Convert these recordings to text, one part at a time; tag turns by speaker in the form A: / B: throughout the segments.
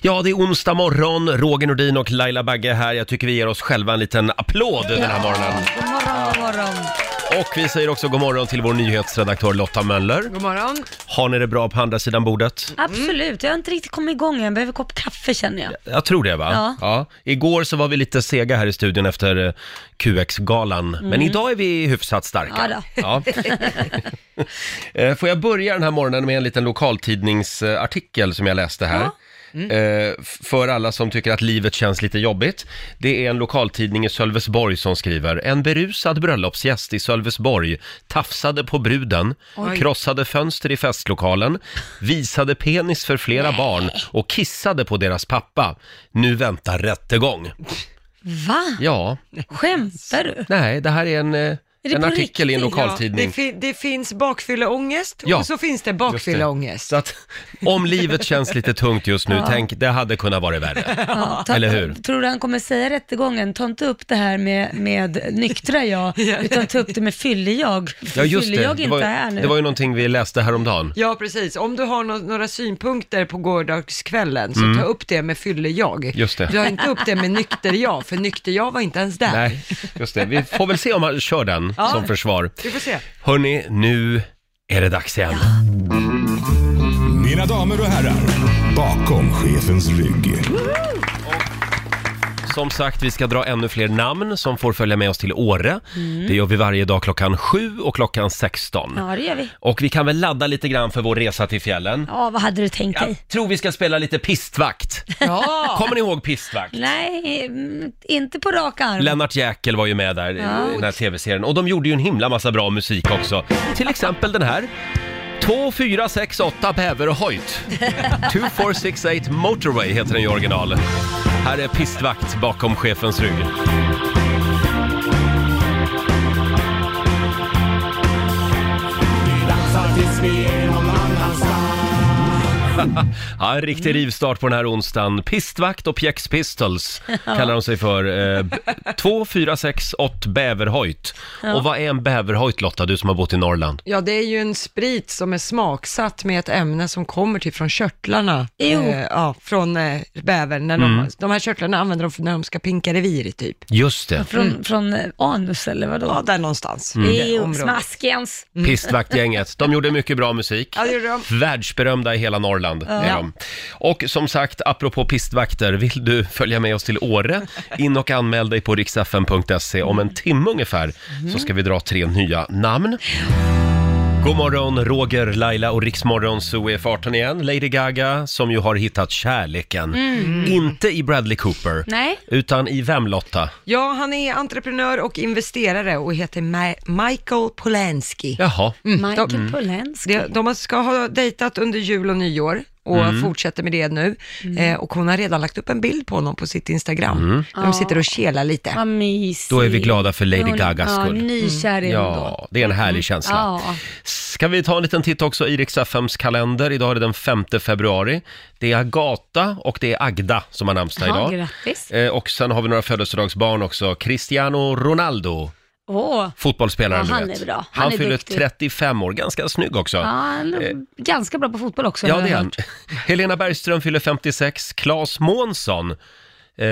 A: Ja, det är onsdag morgon. Roger Nordin och Laila Bagge här. Jag tycker vi ger oss själva en liten applåd den här morgonen.
B: God morgon, god morgon.
A: Mm. Och vi säger också god morgon till vår nyhetsredaktör Lotta Möller.
C: God morgon.
A: Har ni det bra på andra sidan bordet?
B: Absolut, jag har inte riktigt kommit igång än. Jag behöver en kopp kaffe känner jag.
A: Jag tror det va?
B: Ja.
A: Igår så var vi lite sega här i studion efter eh, QX-galan, men idag är vi hyfsat starka.
B: Ja
A: Ja. Eh, Får jag börja den här morgonen med en liten lokaltidningsartikel som jag läste här. Eh, f- För alla som tycker att livet känns lite jobbigt. Det är en lokaltidning i Sölvesborg som skriver. En berusad bröllopsgäst i Sölvesborg tafsade på bruden, krossade fönster i festlokalen, visade penis för flera barn och kissade på deras pappa. Nu väntar rättegång.
B: Va?
A: Ja,
B: Skämtar du?
A: nej, det här är en, eh, en
B: på
A: artikel i en
B: riktigt?
A: lokaltidning.
C: Ja, det, fi- det finns bakfylleångest
A: Ja.
C: och så finns det
A: Just det.
C: bakfylleångest.
A: Så att om livet känns lite tungt just nu, tänk det hade kunnat vara värre.
B: Ja, ta,
A: Eller hur?
B: Tror du han kommer säga rättegången, ta inte upp det här med, med nyktra jag, utan ta upp det med fylle-jag.
A: Ja just det,
B: Fylle-jag är
A: det var,
B: inte här nu.
A: det var ju någonting vi läste häromdagen.
C: Ja, precis. Om du har nå- några synpunkter på gårdagskvällen så
A: Mm.
C: ta upp det med fylle-jag.
A: Just det.
C: Dra inte upp det med nykter-jag, för nykter-jag var inte ens där.
A: Nej, just det. Vi får väl se om han kör den
C: Ja.
A: som försvar.
C: Vi får se.
A: Hörni, nu är det dags igen.
D: Mina damer och herrar, bakom chefens rygg.
A: Som sagt, vi ska dra ännu fler namn som får följa med oss till Åre. Det gör vi varje dag klockan 7 och klockan 16.
B: Mm. Ja, det gör vi.
A: Och vi kan väl ladda lite grann för vår resa till fjällen.
B: Ja, vad hade du tänkt dig?
A: Jag tror vi ska spela lite pistvakt.
C: Ja,
A: Kommer ni ihåg pistvakt?
B: Nej, mm, inte på rak arm.
A: Lennart Jäkel var ju med där i den här tv-serien och de gjorde ju en himla massa bra musik också. Till exempel den här. 2, 4, 6, 8 bäver och hojt. 2468 Motorway heter den i original. Här är pistvakt bakom chefens rygg. Ja, en riktig rivstart på den här onsdagen. Pistvakt och Pjex Pistols kallar de sig för. Eh, b- 2, 4, 6, 8 bäverhojt. Och vad är en bäverhojt Lotta, du som har bott i Norrland?
C: ja, det är ju en sprit som är smaksatt med ett ämne som kommer till från körtlarna.
B: Jo.
C: ja, från eh, bävern. När de,
A: Mm.
C: de här körtlarna använder de för när de ska pinka revir, typ.
A: Just det.
B: Från, från eh, anus eller vadå?
C: Ja, där någonstans.
A: Mm.
B: Det
C: i
B: är ju
C: området.
B: smaskens.
A: Pistvaktgänget. De gjorde mycket bra musik.
C: Ja, det gjorde de.
A: Världsberömda i hela Norrland är de. Och som sagt, apropå pistvakter, vill du följa med oss till Åre? In och anmäl dig på riksfn.se. E. Om en timme ungefär så ska vi dra tre nya namn. God morgon, Roger, Laila och Riksmorgon så är farten igen. Lady Gaga som ju har hittat kärleken. Inte i Bradley Cooper,
B: Nej.
A: utan i vem Lotta?
C: Ja, han är entreprenör och investerare och heter Ma- Michael Polanski.
A: Jaha,
B: Michael
A: Mm.
B: Polanski.
C: De, de ska ha dejtat under jul och nyår och fortsätter med det nu. Eh, och hon har redan lagt upp en bild på honom på sitt Instagram. De sitter och kelar lite.
B: Vad mysigt.
A: Då är vi glada för Lady
B: Hon-
A: Gagas
B: ja,
A: skull. Mm.
B: Nykär är hon då.
A: Ja, det är en härlig känsla.
B: Mm. Ja.
A: Ska vi ta en liten titt också i Rix FMs kalender? Idag är det den 5 februari. Det är Agata och det är Agda som har namnsdag
B: Ja,
A: idag.
B: grattis.
A: Eh, Och sen har vi några födelsedagsbarn också. Cristiano Ronaldo,
B: Åh.
A: fotbollsspelaren
B: Ja,
A: du
B: han
A: vet.
B: är bra. Han
A: Han,
B: är
A: fyller
B: duktig.
A: 35 år, ganska snygg också.
B: Ja, han är ganska bra på fotboll också.
A: Eh. Ja,
B: har jag
A: det är han.
B: hört.
A: Helena Bergström fyller 56, Claes Månsson, eh,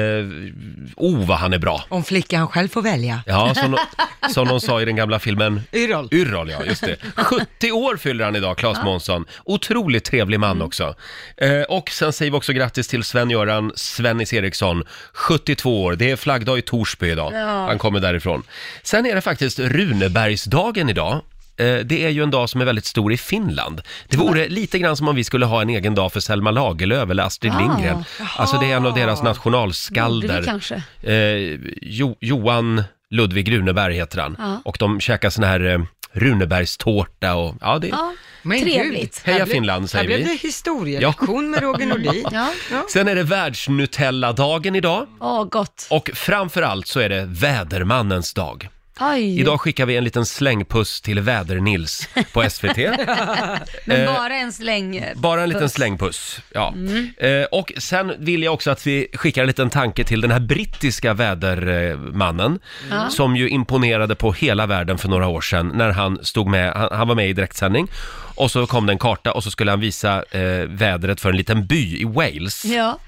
A: oh vad han är bra.
C: Om flickan han själv får välja.
A: Ja, som, som de sa i den gamla filmen
C: Yrrol.
A: Yrrol, ja, just det. 70 år fyller han idag, Claes Månsson. Otroligt trevlig man
B: Mm.
A: också. Eh, och sen säger vi också grattis till Sven-Göran Svennis Eriksson, 72 år. Det är flaggdag i Torsby idag. Han kommer därifrån. Sen är det faktiskt Runebergsdagen idag. Eh, Det är ju en dag som är väldigt stor i Finland. Det vore lite grann som om vi skulle ha en egen dag för Selma Lagerlöf eller Astrid
B: Ah.
A: Lindgren. Alltså det är en av deras nationalskalder.
B: Borde vi kanske.
A: Eh, jo, Johan Ludvig Runeberg heter han.
B: Ja.
A: Och de käkar sån här eh, Runebergstårta och ja, det
B: Ja,
C: Men
B: trevligt.
C: gud,
A: Heja
C: här blev-
A: Finland, säger
C: Här
A: vi.
C: blev det historielektion med Roger Nordin.
B: Ja.
A: Sen är det världsnutelladagen idag
B: Åh, gott.
A: och framförallt så är det vädermannens dag.
B: Oj.
A: Idag skickar vi en liten slängpuss till Väder-Nils på SVT.
B: Men
A: Eh,
B: bara en släng.
A: Bara en liten
B: puss.
A: slängpuss. Ja.
B: Mm.
A: Eh, och sen vill jag också att vi skickar en liten tanke till den här brittiska vädermannen
B: Ja.
A: som ju imponerade på hela världen för några år sedan när han stod med, han, han var med i direktsändning och så kom det en karta och så skulle han visa eh, vädret för en liten by i Wales.
B: Ja.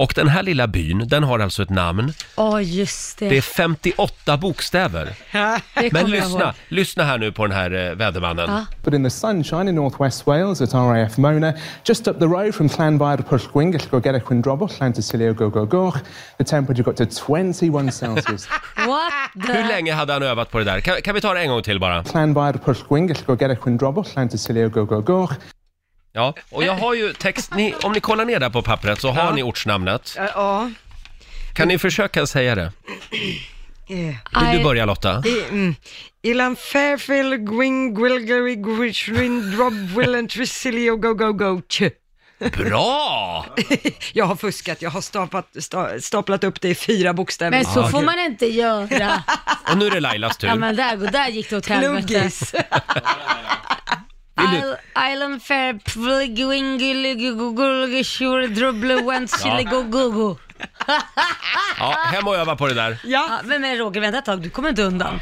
A: Och den här lilla byn, den har alltså ett namn.
B: Åh, just det.
A: Det är 58 bokstäver.
B: Det
A: Men
B: kommer jag
A: lyssna,
B: ihåg.
A: lyssna här nu på den här eh, vädermannen.
B: Ja.
E: But in the sunshine in northwest Wales at RAF Mona, just up the road from Llanfair Pwllgwyn, Gellgogera Chwindrobwll, Llantysilio Gogogoch, the temperature got to 21 Celsius.
B: What the...
A: Hur länge hade han övat på det där? Kan, kan vi ta det en gång till bara?
E: Llanfair Pwllgwyn, Gellgogera Chwindrobwll, Llantysilio Gogogoch.
A: Ja, och jag har ju text, ni, om ni kollar ner där på pappret så har ni ortsnamnet.
C: Ja, Ja.
A: Kan ni försöka säga det?
C: Eh,
A: Vill du
B: I-
A: börja Lotta?
C: i- mm. Ilan Fairfield, Gwyn, Gwilgery, Gwishrin, Drob, Willen, Tresilio, Go, Go, Go, Tjö.
A: Bra!
C: Jag har fuskat, jag har stapat, sta, staplat upp det i fyra bokstäver.
B: Men så
A: Ja,
B: får
A: gud.
B: man inte göra.
A: Och nu är det Lailas
B: Ja,
A: tur.
B: men där, där gick det åt helvete.
C: Pluggis.
A: Vill du-
B: Isle- Island fair, plugwingulugugulugushure, drubble, wentsiligogogo.
A: Ja, hem och öva på det där.
B: Ja, vem är Roger? Vänta ett tag, du kommer inte undan.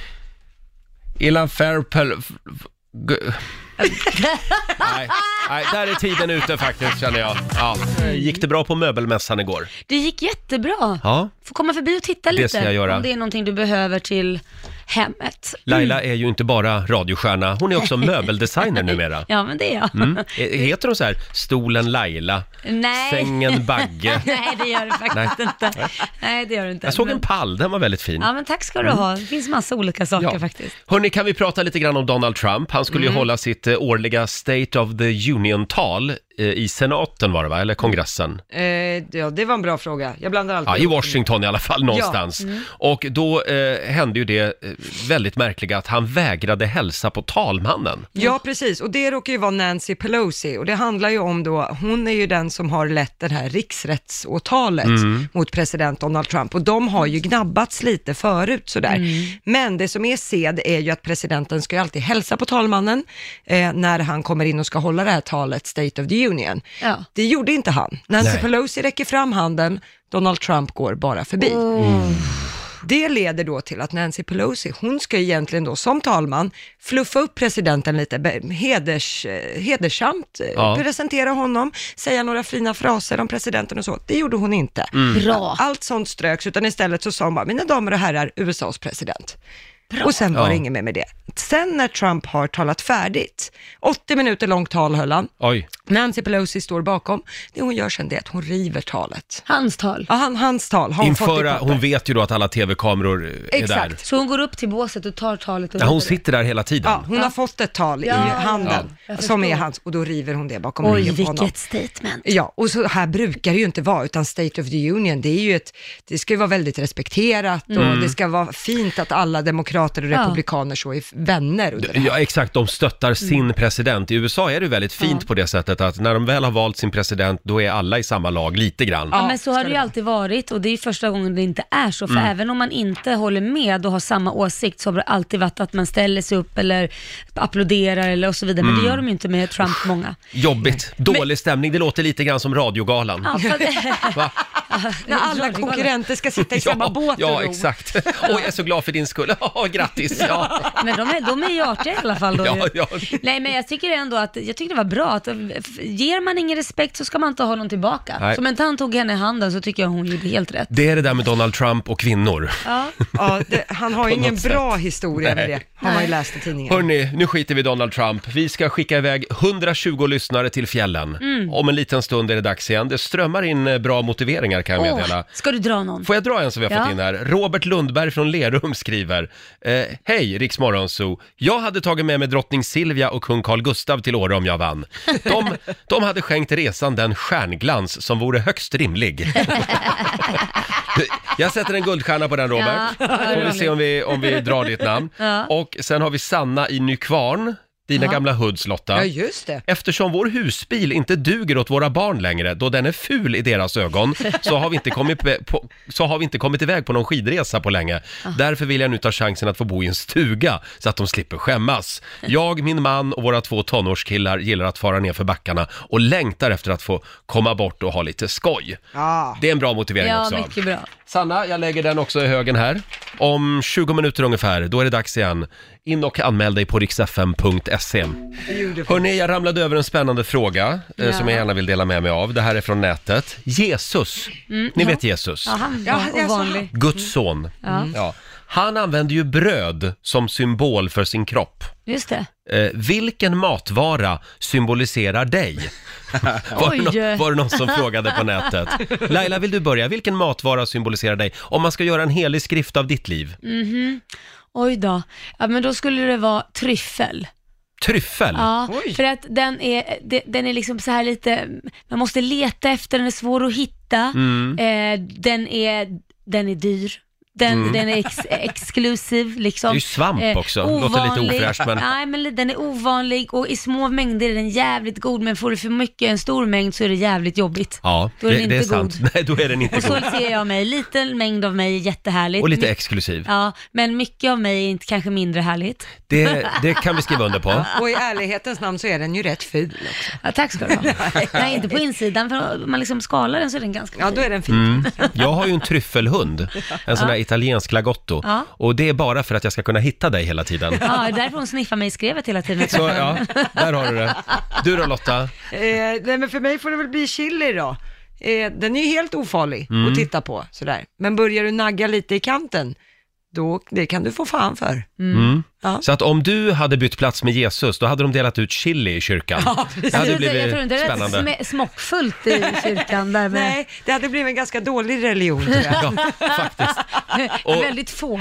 A: Ilan Fairpel... f- f- gu- Nej, nej, där är tiden ute faktiskt känner jag. Ja. Gick det bra på möbelmässan igår?
B: Det gick jättebra.
A: Ja.
B: Får komma förbi och titta
A: Det
B: lite.
A: ska jag göra.
B: Om det är någonting du behöver till hemmet.
A: Laila är ju inte bara radiostjärna, hon är också möbeldesigner numera.
B: Ja, men det är jag.
A: Mm. E- Heter hon så här, stolen Laila,
B: Nej.
A: sängen Bagge?
B: Nej, det gör det faktiskt inte. Nej, det gör det inte.
A: Jag såg
B: Men-
A: en Mm. pall, den var väldigt fin.
B: Ja, men tack ska du ha. Det finns massa olika saker faktiskt.
A: Hörni, kan vi prata lite grann om Donald Trump? Han skulle
C: Mm.
A: ju hålla sitt eh, årliga State of the Union-tal eh, i senaten var det va, eller kongressen?
C: Eh, ja, det var en bra fråga. Jag blandar alltid
A: Ja, i
C: upp.
A: Washington i alla fall, någonstans.
C: Mm.
A: Och då eh, hände ju det eh, väldigt märkliga att han vägrade hälsa på talmannen.
C: Ja, precis. Och det råkar ju vara Nancy Pelosi. Och det handlar ju om då, hon är ju den som har lett det här riksrättsåtalet mot president Donald Trump. Och de har ju gnabbats lite förut sådär. Men det som är sed är ju att presidenten ska ju alltid hälsa på talmannen eh, när han kommer in och ska hålla det här talet, State of the Union.
B: Ja.
C: Det gjorde inte han. Nancy
A: Nej.
C: Pelosi räcker fram handen, Donald Trump går bara förbi. Det leder då till att Nancy Pelosi, hon ska egentligen då som talman fluffa upp presidenten lite, be- heders, eh, hedersamt, eh,
A: Ja.
C: presentera honom, säga några fina fraser om presidenten och så. Det gjorde hon inte.
A: Mm.
B: Bra.
C: Allt sånt ströks, utan istället så sa hon bara, mina damer och herrar, USAs president. Och sen var
A: Ja.
C: det inget mer med det. Sen när Trump har talat färdigt, 80 minuter långt tal höll han,
A: Oj,
C: Nancy Pelosi står bakom. Det hon gör sen det är att hon river talet.
B: Hans tal.
C: Ja, han, hans tal har hon fått i
A: införa,
C: papper.
A: hon vet ju då att alla tv-kameror eh, är
C: Exakt.
A: där.
B: Så hon går upp till båset och tar talet och
A: Ja, hon
B: läser det.
A: sitter där hela tiden.
C: Ja, hon har fått ett tal i
B: Ja,
C: handen
B: ja, jag
C: som är
B: förstår.
C: hans och då river hon det bakom
B: Oj,
C: ryggen på honom.
B: vilket statement.
C: Ja, och så här brukar det ju inte vara, utan State of the Union, det är ju ett, det ska ju vara väldigt respekterat och det ska vara fint att alla demokrater och
B: Mm. Ja.
C: republikaner så är vänner under det här.
A: Ja, exakt. De stöttar
C: Mm.
A: sin president. I USA är det ju väldigt fint på det sättet att när de väl har valt sin president, då är alla i samma lag lite grann.
B: Ja,
C: Ja,
B: men så
C: ska
B: har
C: det
B: det ju
C: vara.
B: alltid varit och det är ju första gången det inte är så. För
A: Mm.
B: även om man inte håller med och har samma åsikt så har det alltid varit att man ställer sig upp eller applåderar eller och så vidare.
A: Mm.
B: Men det gör de ju inte med Trump många.
A: Jobbigt.
C: Mm.
A: Dålig stämning. Det låter lite grann som radiogalan.
B: Ja, för att,
A: Va?
C: När alla konkurrenter ska sitta i samma båt och
A: Ja,
C: ro.
A: exakt. Oj, jag är så glad för din skull. Ja, grattis. Ja.
B: Men de är, de är ju artiga i alla fall då.
A: Ja,
B: ju.
A: ja.
B: Nej, men jag tycker ändå att, jag tycker det var bra att f- ger man ingen respekt så ska man inte ha någon tillbaka.
A: Nej.
B: Som inte han tog henne i handen så tycker jag hon gjorde helt rätt.
A: Det är det där med Donald Trump och kvinnor.
B: Ja.
C: Ja, det, han har ju
A: På
C: ingen
A: något
C: bra historia med
A: Nej.
C: det, har man ju läst i tidningen.
A: Hörni, nu skiter vi i Donald Trump. Vi ska skicka iväg 120 lyssnare till fjällen.
C: Mm.
A: Om en liten stund är det dags igen. Det strömmar in eh, bra motiveringar kan jag meddela.
B: Åh, ska du dra någon?
A: Får jag dra en som vi har fått
B: Ja.
A: in här? Robert Lundberg från Lerum skriver. Eh, Hej Rix Morgonzoo. Jag hade tagit med mig drottning Silvia och kung Carl Gustav till Åre om jag vann. De, de hade skänkt resan den stjärnglans som vore högst rimlig. Jag sätter en guldstjärna på den Robert.
B: Ja, vad
A: Får vi
B: roligt.
A: se om vi, om vi drar ditt namn.
B: Ja.
A: Och sen har vi Sanna i Nykvarn dina gamla hoods Lotta.
C: Ja, just det.
A: Eftersom vår husbil inte duger åt våra barn längre, då den är ful i deras ögon, så har vi inte kommit, pe- på, så har vi inte kommit iväg på någon skidresa på länge.
B: Ah.
A: Därför vill jag nu ta chansen att få bo i en stuga, så att de slipper skämmas. Jag, min man och våra två tonårskillar gillar att fara ner för backarna och längtar efter att få komma bort och ha lite skoj.
C: Ja.
A: Det är en bra motivering
B: Ja,
A: också.
B: mycket bra.
A: Sanna, jag lägger den också i högen här. Om 20 minuter ungefär, då är det dags igen. In och anmäl dig på riksfm.se. Hörrni, jag ramlade över en spännande fråga eh, som jag gärna vill dela med mig av. Det här är från nätet. Jesus, ni vet Jesus,
B: Mm. Ja, han var
C: Ja, jag sa-
B: ovanlig.
A: Guds son. Ja. Han använder ju bröd som symbol för sin kropp.
B: Just det.
A: Eh, vilken matvara symboliserar dig? var, det
B: Oj.
A: någon, var det någon som frågade på nätet? Laila, vill du börja? Vilken matvara symboliserar dig? Om man ska göra en helig skrift av ditt liv.
B: Oj då. Ja, men då skulle det vara tryffel.
A: Tryffel?
B: Ja,
C: Oj.
B: för att den är, de- den är liksom så här lite, man måste leta efter den, den är svår att hitta,
A: Mm.
B: eh, den, är, den är dyr. Den, den är ex, exklusiv liksom.
A: Mm. Det är ju svamp också. Låter lite ofräscht, men-
B: Nej men li- den är ovanlig och i små mängder är den jävligt god men får du för mycket, en stor mängd så är det jävligt jobbigt.
A: Ja,
B: Då är den inte god.
A: Nej, då är den inte
B: Och så
A: god.
B: ser jag mig, liten mängd av mig är jättehärligt.
A: Och lite
B: My-
A: exklusiv.
B: Ja, men mycket av mig är inte kanske mindre härligt.
A: Det, det kan vi skriva under på.
C: Och i ärlighetens namn så är den ju rätt ful också.
B: Ja, tack ska du ha. Nej, inte på insidan, för om man liksom skalar den så är den ganska
C: Ja,
B: fin.
C: då är den fin.
A: Mm. Jag har ju en tryffelhund, en sån här italiensk lagotto.
B: Ja.
A: Och det är bara för att jag ska kunna hitta dig hela tiden.
B: Ja, därför hon sniffar mig i skrevet hela tiden.
A: Så ja, där har du det. Du då Lotta?
C: Eh, nej, men för mig får det väl bli chili då. Eh, den är ju helt ofarlig
B: Mm.
C: att titta på sådär. Men börjar du nagga lite i kanten, då det kan du få fan för. Ja.
A: Så att om du hade bytt plats med Jesus, då hade de delat ut chili i kyrkan. det hade
B: Jag tror inte- jag
A: blivit
B: tror inte det är
A: spännande.
B: rätt sm- smockfullt i kyrkan där med
C: Nej, det hade blivit en ganska dålig religion tror jag.
A: Ja, faktiskt. Och-
B: väldigt få.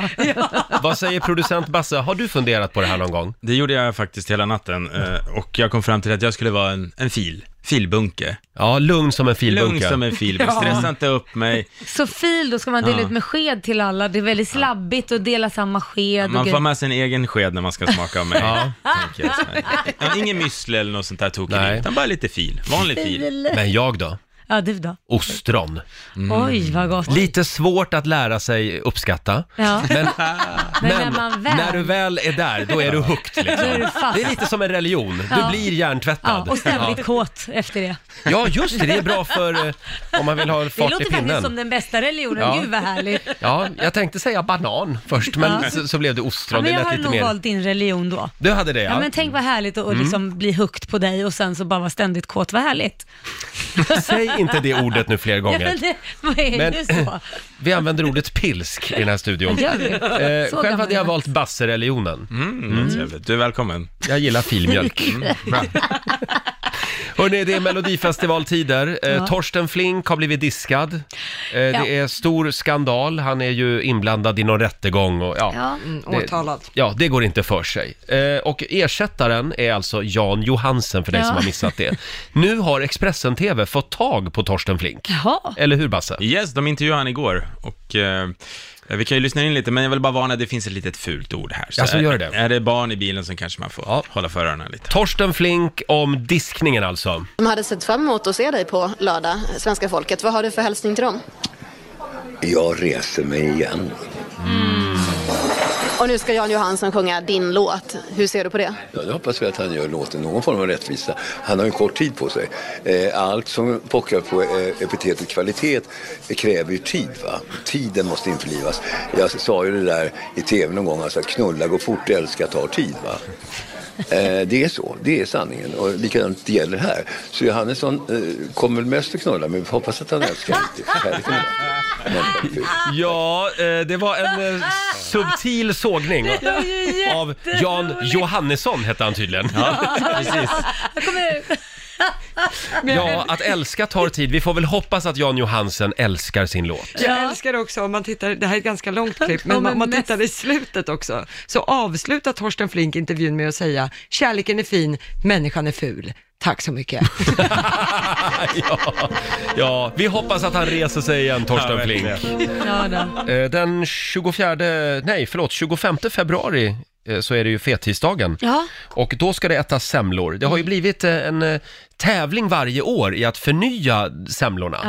A: Vad säger producent Basse, har du funderat på det här någon gång?
F: Det gjorde jag faktiskt hela natten eh, och jag kom fram till att jag skulle vara en, en fil. Filbunke.
A: Ja, lugn som
F: Lugn
A: en filbunke.
F: som en filbunke, stressa inte upp mig.
B: Så fil, då ska man dela
F: Ja.
B: ut med sked till alla. Det är väldigt slabbigt att dela samma sked. och
F: Man får
B: grejer.
F: med sin egen sked när man ska smaka av mig.
A: Ja.
F: tänker jag så här. Ja, ingen müsli eller något sånt där
A: Nej.
F: tokeri, utan bara lite fil. Vanlig fil.
A: Men jag då?
B: Ja, du då?
A: Ostron.
B: Oj, vad gott.
A: Mm. Lite svårt att lära sig uppskatta.
B: Ja.
A: Men,
B: Men
A: men
B: när man väl-
A: när du väl är där, då är du hooked liksom.
B: Då är du fast.
A: Det är lite som en religion. Du
B: Ja.
A: blir hjärntvättad.
B: Ja, och ständigt kåt efter det.
A: Ja. ja, just det. Det är bra för eh, om man vill ha
B: Det
A: fart i
B: låter
A: pinnen.
B: faktiskt som den bästa religionen.
A: Ja.
B: Gud vad härligt.
A: Ja, jag tänkte säga banan först, men
B: Ja.
A: så, så blev det
B: Ja, men
A: ostron. det
B: jag
A: lät
B: har
A: lite
B: nog
A: mer... Mm.
B: valt din religion då.
A: Du hade det,
B: Ja, men tänk vad härligt att och liksom bli högt på dig och sen så bara vara ständigt kåt. Vad härligt.
A: Säg inte det ordet nu fler
B: Ja,
A: gånger.
B: men det vad är
A: Men-
B: ju så.
A: Vi använder ordet pilsk i den här studion.
B: Gör vi? Så
A: Eh, själv
B: gammal
A: hade
B: är
A: jag
B: jag.
A: valt bassereligionen.
F: Mm, vad Trevligt. Du är välkommen.
A: Jag gillar filmjölk.
B: Mm,
A: Hörrni, det är Melodifestivaltider. Eh,
B: Ja.
A: Torsten Flink har blivit diskad. Eh,
B: Ja.
A: Det är stor skandal. Han är ju inblandad i någon rättegång och ja.
B: Ja.
A: Det-
C: Mm, Åtalad.
A: Ja, det går inte för sig. Eh, och ersättaren är alltså Jan Johansen för dig
B: Ja.
A: som har missat det. Nu har Expressen TV fått tag på Torsten Flink.
B: Jaha.
A: Eller hur Basse?
F: Yes, de intervjuade han igår och eh, vi kan ju lyssna in lite, men jag vill bara varna, det finns ett litet fult ord här.
A: Ja, så
F: är,
A: gör det.
F: är det barn i bilen så kanske man får hålla för öronen lite.
A: Torsten Flink om diskningen alltså.
G: De hade sett fram emot att se dig på lördag, svenska folket. Vad har du för hälsning till dem?
H: Jag reser mig igen.
G: Och nu ska Jan Johansson sjunga din låt. Hur ser du på det?
H: Ja, det hoppas vi att han gör låten någon form av rättvisa. Han har ju kort tid på sig. Eh, Allt som pockar på eh, epitetet kvalitet kräver ju tid. Va? Tiden måste införlivas. Jag sa ju det där i tv någon gång, alltså att knulla går fort, älska tar tid. Va? Eh, Det är så, det är sanningen. Och likadant gäller här. Så Johannesson eh, kommer väl mest att knulla, men vi hoppas att han älskar lite. Härligt ändå. Men, eh,
A: Ja, eh, det var en eh, subtil sågning
B: var ju
A: av Jan Johannesson hette han tydligen. Ja, precis.
B: Jag kommer...
A: Ja, att älska tar tid. Vi får väl hoppas att Jan Johansen älskar sin låt.
C: Jag älskar också om man tittar, det här är ett ganska långt klipp, men
B: Ja, men
C: om man
B: mest-
C: tittar i slutet också, så avslutar Torsten Flink intervjun med att säga kärleken är fin, människan är ful. Tack så mycket.
A: ja, ja, vi hoppas att han reser sig igen, Torsten
F: Ja,
A: Flink.
F: verkligen.
B: Ja, då.
A: Eh, Den 24, nej förlåt, 25 februari eh, så är det ju fettisdagen.
B: Ja. Mm.
A: Och då ska det ätas semlor. Det har ju blivit eh, en eh, tävling varje år i att förnya semlorna.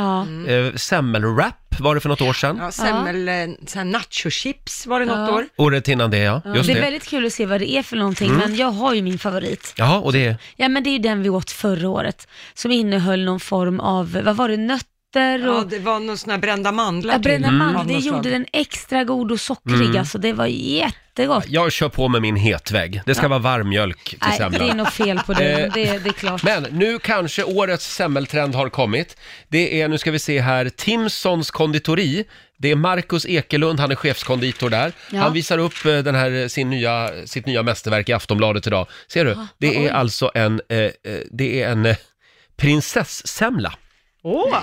B: Ja.
A: Eh, Semmelwrap var det för något år sedan.
C: Ja, semmel, eh, så här nachochips var det något år.
A: Året innan det ja, just
B: det är
A: det. Mm.
B: väldigt kul att se vad det är för någonting, men jag har ju min favorit.
A: Ja, och det...
B: Ja men det är ju den vi åt förra året, som innehöll någon form av, vad var det, nötter
C: Ja,
B: och
C: det var någon sån här brända mandlar.
B: ja, brända
C: typ,
B: mandel.
C: av
B: Det
C: något
B: gjorde
C: slag.
B: den extra god och sockrig
A: Mm.
B: alltså, det var jättegott.
A: Jag kör på med min hetvägg. Det ska vara varm mjölk till
B: Nej, det är
A: semlan.
B: nog fel på det,
A: Eh,
B: det, det är klart.
A: Men nu kanske årets semmeltrend har kommit. Det är, nu ska vi se här, Timsons konditori. Det är Marcus Ekelund, han är chefskonditor där.
B: Ja.
A: Han visar upp eh, den här, eh, sin nya, sitt nya mästerverk i Aftonbladet idag. Ser
B: Ah,
A: du? Det är alltså en, eh, eh, det är en eh, prinsessemla.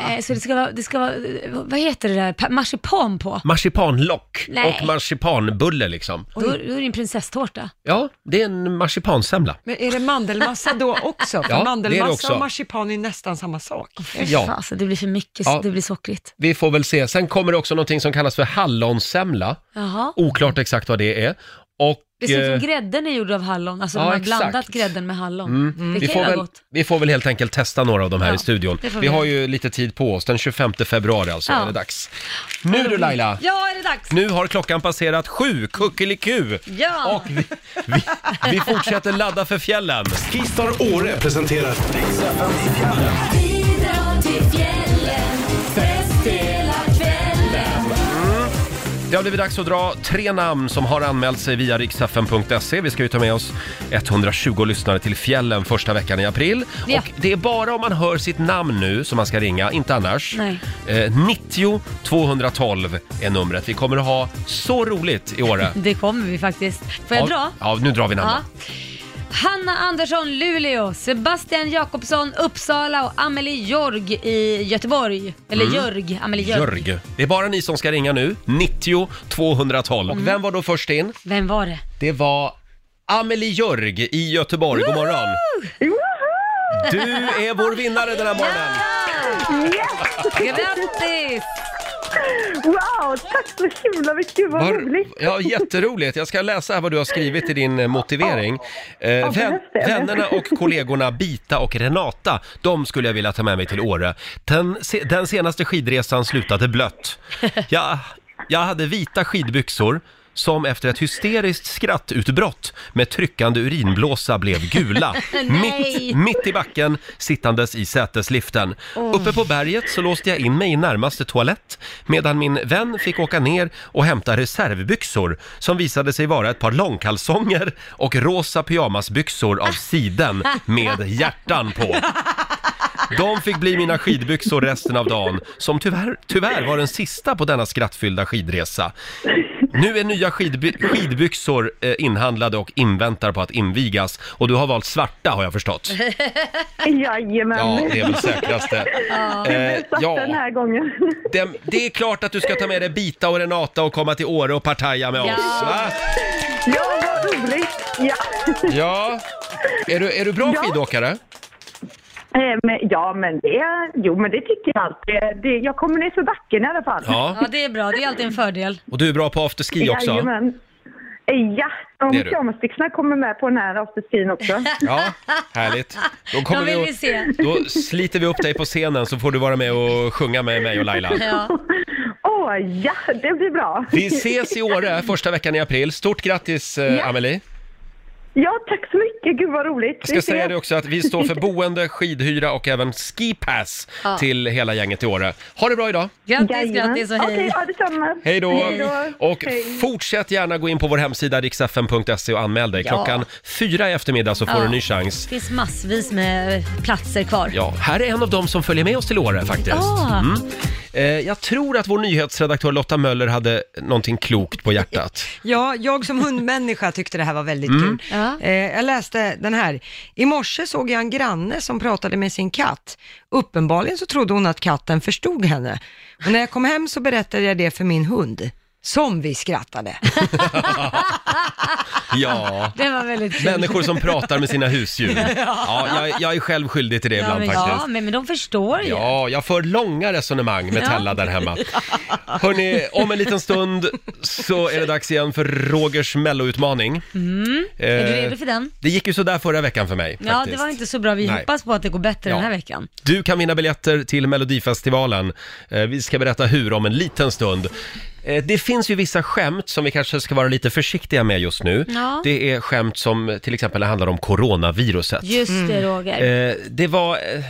B: Nej, Eh, så det ska vara, det ska vara eh, vad heter det där, Pa- marsipan på?
A: Marsipanlock
B: Nej.
A: och marsipanbulle liksom.
B: Då, då är det en prinsesstårta.
A: Ja, det är en marsipansemla.
C: Men är det mandelmassa då också? För
A: Ja, det är det
C: mandelmassa
A: också.
C: och marsipan är nästan samma sak.
A: Ja.
B: Ja. Alltså, det blir för mycket,
A: Ja.
B: det blir sockrigt.
A: Vi får väl se. Sen kommer det också någonting som kallas för hallonsemla.
B: Jaha.
A: Oklart exakt vad det är. Och,
B: Det ser ut
A: eh,
B: som grädden är gjord av hallon, alltså
A: ja,
B: de har
A: exakt. Mm.
B: blandat grädden med hallon. Det
A: vi,
B: kan
A: får
B: ju vara
A: väl,
B: gott.
A: vi får väl helt enkelt testa några av de här
B: Ja,
A: i studion.
B: det får
A: Vi
B: vi
A: har
B: göra.
A: ju lite tid på oss. Den 25 februari alltså
B: Ja.
A: är det dags. Nu du Laila!
B: Ja, är det dags?
A: Nu har klockan passerat sju, kuckeliku!
B: Ja.
A: Och vi, vi, vi fortsätter ladda för fjällen.
D: Skistar Åre presenterar
A: Det har blivit dags att dra tre namn som har anmält sig via riksfn.se. Vi ska ju ta med oss 120 lyssnare till fjällen första veckan i april.
B: Ja.
A: Och det är bara om man hör sitt namn nu som man ska ringa, inte annars.
B: Nej.
A: Eh, 90 212 är numret. Vi kommer att ha så roligt i Åre.
B: Det kommer vi faktiskt. Får jag dra?
A: Ja, nu drar vi namnen.
B: Hanna Andersson, Luleå, Sebastian Jakobsson, Uppsala och Amelie Jorg i Göteborg. Eller Jörg, Amelie Jörg.
A: Mm. Jörg. Det är bara ni som ska ringa nu, 90 212.
B: Mm.
A: Och vem var då först in?
B: Vem var det?
A: Det var Amelie Jörg i Göteborg. God morgon! Du är vår vinnare den här morgonen!
B: Grattis!
I: Wow, tack så himla mycket, vad
A: Vad-
I: roligt!
A: ja, jätteroligt. Jag ska läsa här vad du har skrivit i din eh, motivering. Eh, vän,
I: behövs det?
A: vännerna och kollegorna Bita och Renata, de skulle jag vilja ta med mig till Åre. Den, se, den senaste skidresan slutade blött. Jag, jag hade vita skidbyxor som efter ett hysteriskt skrattutbrott med tryckande urinblåsa blev gula. mitt, mitt i backen, sittandes i sätesliften. Uppe på berget så låste jag in mig i närmaste toalett medan min vän fick åka ner och hämta reservbyxor som visade sig vara ett par långkalsonger och rosa pyjamasbyxor av siden med hjärtan på. De fick bli mina skidbyxor resten av dagen, som tyvärr, tyvärr var den sista på denna skrattfyllda skidresa. Nu är nya skidby- skidbyxor eh, inhandlade och inväntar på att invigas. Och du har valt svarta har jag förstått.
I: Jajamän!
A: Ja, det är väl säkraste. Eh,
I: Satt den här gången.
A: det, det är klart att du ska ta med dig Bita och Renata och komma till Åre och partaja med oss.
B: Ja.
A: Va?
I: ja, vad roligt! Ja,
A: Ja. Är du, är du bra
I: Ja.
A: skidåkare?
I: Eh, men, ja men, det, jo, men det tycker jag alltid. Det, jag kommer ner för backen i alla fall.
A: Ja.
B: Ja, det är bra. Det är alltid en fördel.
A: Och du är bra på afterski också?
I: Jajamän. Eh, Ja,
A: Det
I: de
A: är du.
I: pyjamasbyxorna kommer med på den här afterskin också.
A: Ja, härligt. Då,
B: Då
A: kommer vi
B: vill vi
A: och,
B: se.
A: då sliter vi upp dig på scenen så får du vara med och sjunga med mig och Laila.
B: Ja.
I: Åh, ja, det blir bra!
A: Vi ses i Åre första veckan i april. Stort grattis eh,
I: Ja.
A: Amelie!
I: Ja, tack så mycket. Gud vad roligt.
A: Jag ska säga det också att vi står för boende, skidhyra och även skipass
B: Ja.
A: till hela gänget i Åre. Ha det bra idag!
B: Grattis, grattis och Alltså,
I: Okej,
B: hej.
I: ja, detsamma.
A: Hej då! Och
I: Hej.
A: fortsätt gärna gå in på vår hemsida riksfn.se och anmäl dig. Klockan fyra i eftermiddag så får
B: Ja.
A: du en ny chans.
B: Det finns massvis med platser kvar.
A: Ja, här är en av dem som följer med oss till Åre faktiskt.
B: Ah.
A: Mm. Eh, jag tror att vår nyhetsredaktör Lotta Möller hade någonting klokt på hjärtat.
C: Ja, jag som hundmänniska tyckte det här var väldigt
A: Mm.
C: kul.
B: Ja.
C: Eh, jag läste den här. I morse såg jag en granne som pratade med sin katt. Uppenbarligen så trodde hon att katten förstod henne. Och när jag kom hem så berättade jag det för min hund. Som vi skrattade.
A: Ja.
B: Det var väldigt kul.
A: Människor som pratar med sina husdjur. Ja, jag, jag är själv skyldig till det
B: ja,
A: ibland
B: men, ja,
A: faktiskt.
B: men, men de förstår ju.
A: Ja, jag för långa resonemang med
B: Ja.
A: Tella där hemma. Hörni, om en liten stund så är det dags igen för Rogers melloutmaning.
B: Mm.
A: Eh,
B: Är du redo för den?
A: Det gick ju sådär förra veckan för mig.
B: Ja, det
A: faktiskt.
B: var inte så bra. Vi
A: Nej.
B: hoppas på att det går bättre
A: Ja.
B: den här veckan.
A: Du kan vinna biljetter till Melodifestivalen. Eh, Vi ska berätta hur om en liten stund. Eh, Det finns ju vissa skämt som vi kanske ska vara lite försiktiga med just nu.
B: Ja.
A: Det är skämt som till exempel handlar om coronaviruset.
B: Just
C: Mm.
B: det, Roger.
A: Eh, det var... eh,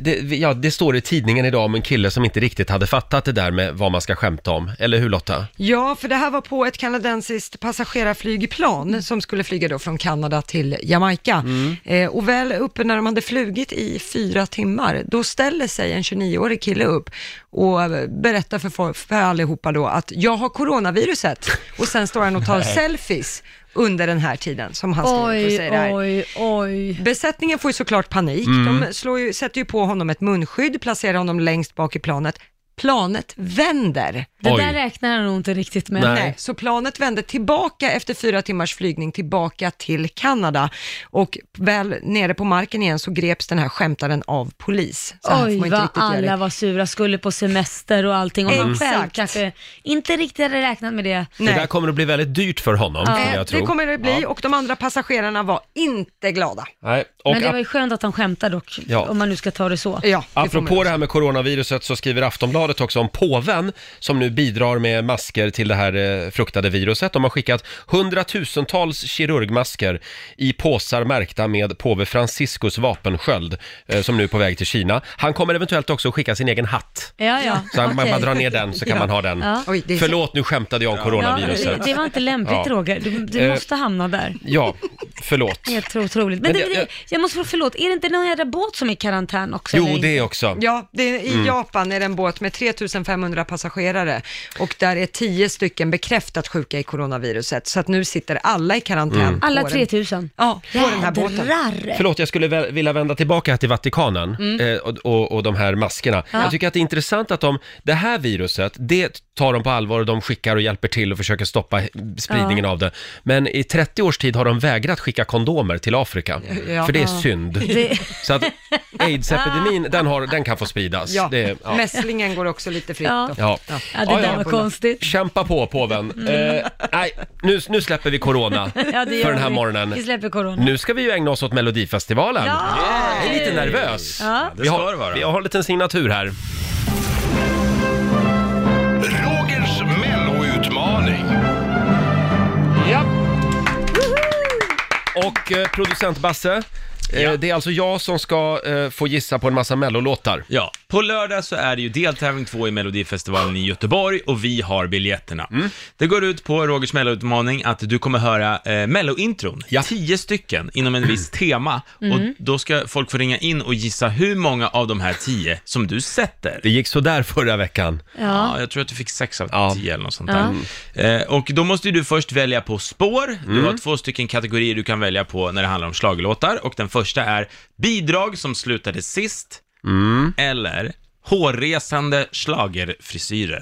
A: Det, ja, det står i tidningen idag om en kille som inte riktigt hade fattat det där med vad man ska skämta om. Eller hur Lotta?
C: Ja, för det här var på ett kanadensiskt passagerarflygplan som skulle flyga då från Kanada till Jamaica. Eh, och väl uppe när de hade flugit i fyra timmar, då ställer sig en 29-årig kille upp och eh, berättar för, folk, för allihopa då att jag har coronaviruset. Och sen står han och tar selfies under den här tiden som han står upp och
B: Oj,
C: säger det här.
B: oj, oj.
C: Besättningen får ju såklart panik. De slår ju, sätter ju på honom ett munskydd, placerar honom längst bak i planet. Planet vänder.
B: Det
A: Oj.
B: där räknar han nog inte riktigt med.
A: Nej.
C: Nej, så planet vände tillbaka efter fyra timmars flygning tillbaka till Kanada och väl nere på marken igen så greps den här skämtaren av polis. Så här får man
B: Oj,
C: inte
B: vad
C: riktigt göra
B: alla
C: det.
B: var sura, skulle på semester och allting. Och han själv
C: Exakt.
B: kanske inte riktigt hade räknat med det.
C: Nej.
A: Det där kommer att bli väldigt dyrt för honom, skulle
C: Eh,
A: jag tro.
C: det kommer det bli och de andra passagerarna var inte glada.
A: Nej. Och
B: Men det var ju skönt att han skämtade dock,
A: Ja.
B: om man nu ska ta det så.
C: Ja, det får
A: Apropå
C: man-
A: det här med coronaviruset så skriver Aftonbladet också om påven som nu bidrar med masker till det här eh, fruktade viruset. De har skickat hundratusentals kirurgmasker i påsar märkta med påve Franciscus vapensköld eh, som nu är på väg till Kina. Han kommer eventuellt också skicka sin egen hatt.
B: Ja, ja.
A: Så han, man
B: okej.
A: bara drar ner den så kan
C: Ja.
A: man ha den.
B: Ja.
C: Oj, det är-
A: Förlåt, nu skämtade jag om
B: Ja,
A: coronaviruset.
B: det, det var inte lämpligt
A: Ja.
B: Roger, du, du
A: Eh.
B: måste hamna där.
A: Ja, förlåt.
B: Helt otroligt. Men,
A: Men
B: det,
A: det-
B: det, jag måste fråga, förlåt, är det inte någon jävla båt som är i karantän också?
A: Jo,
B: eller?
A: det Mm. också.
C: Ja, det är, i Japan är det en båt med 3500 passagerare och där är 10 stycken bekräftat sjuka i coronaviruset. Så att nu sitter alla i karantän.
A: Mm.
C: på
B: Alla
C: den-
B: 3000?
C: Ja, på den här båten.
B: Jädrar!
A: Förlåt, jag skulle vä- vilja vända tillbaka till Vatikanen
B: Mm.
A: eh, och, och, och de här maskerna. Jag tycker att det är intressant att de, det här viruset, det tar de på allvar och de skickar och hjälper till och försöker stoppa he- spridningen av det. Men i 30 års tid har de vägrat skicka kondomer till Afrika,
C: Ja.
A: för det är synd.
B: Det-
A: Så att aidsepidemin, den, har, den kan få spridas.
C: Ja,
A: Det, ja.
C: mässlingen går också lite fritt.
B: Ja.
C: då.
A: Ja.
B: Ja, det
A: Ja,
B: där
A: ja.
B: var konstigt. Mm.
A: Kämpa på påven. Eh, nej, nu, nu släpper vi corona
B: Ja, det gör
A: för den här
B: vi.
A: morgonen.
B: Vi släpper corona.
A: Nu ska vi ju ägna oss åt Melodifestivalen.
B: Ja!
A: Jag är lite nervös.
B: Ja.
F: Det
A: Vi
F: ska
A: har,
F: det vara.
A: vi har en liten signatur här.
D: Rogers melloutmaning.
A: Ja. Och eh, producent Basse, eh, det är alltså jag som ska eh, få gissa på en massa mellolåtar.
F: Ja, på lördag så är det ju deltävling två i Melodifestivalen i Göteborg och vi har biljetterna. Det går ut på Rogers Mello-utmaning att du kommer höra eh, Mello-intron,
A: Ja.
F: tio stycken inom en viss tema och då ska folk få ringa in och gissa hur många av de här tio som du sätter.
A: Det gick så där förra veckan.
B: Ja.
F: Ja, jag tror att du fick sex av
A: Ja.
F: tio eller något sånt där. Eh, och då måste ju du först välja på spår.
A: Mm.
F: Du har två stycken kategorier du kan välja på när det handlar om schlagerlåtar. Och den första är bidrag som slutade sist,
A: Mm.
F: eller hårresande schlagerfrisyrer.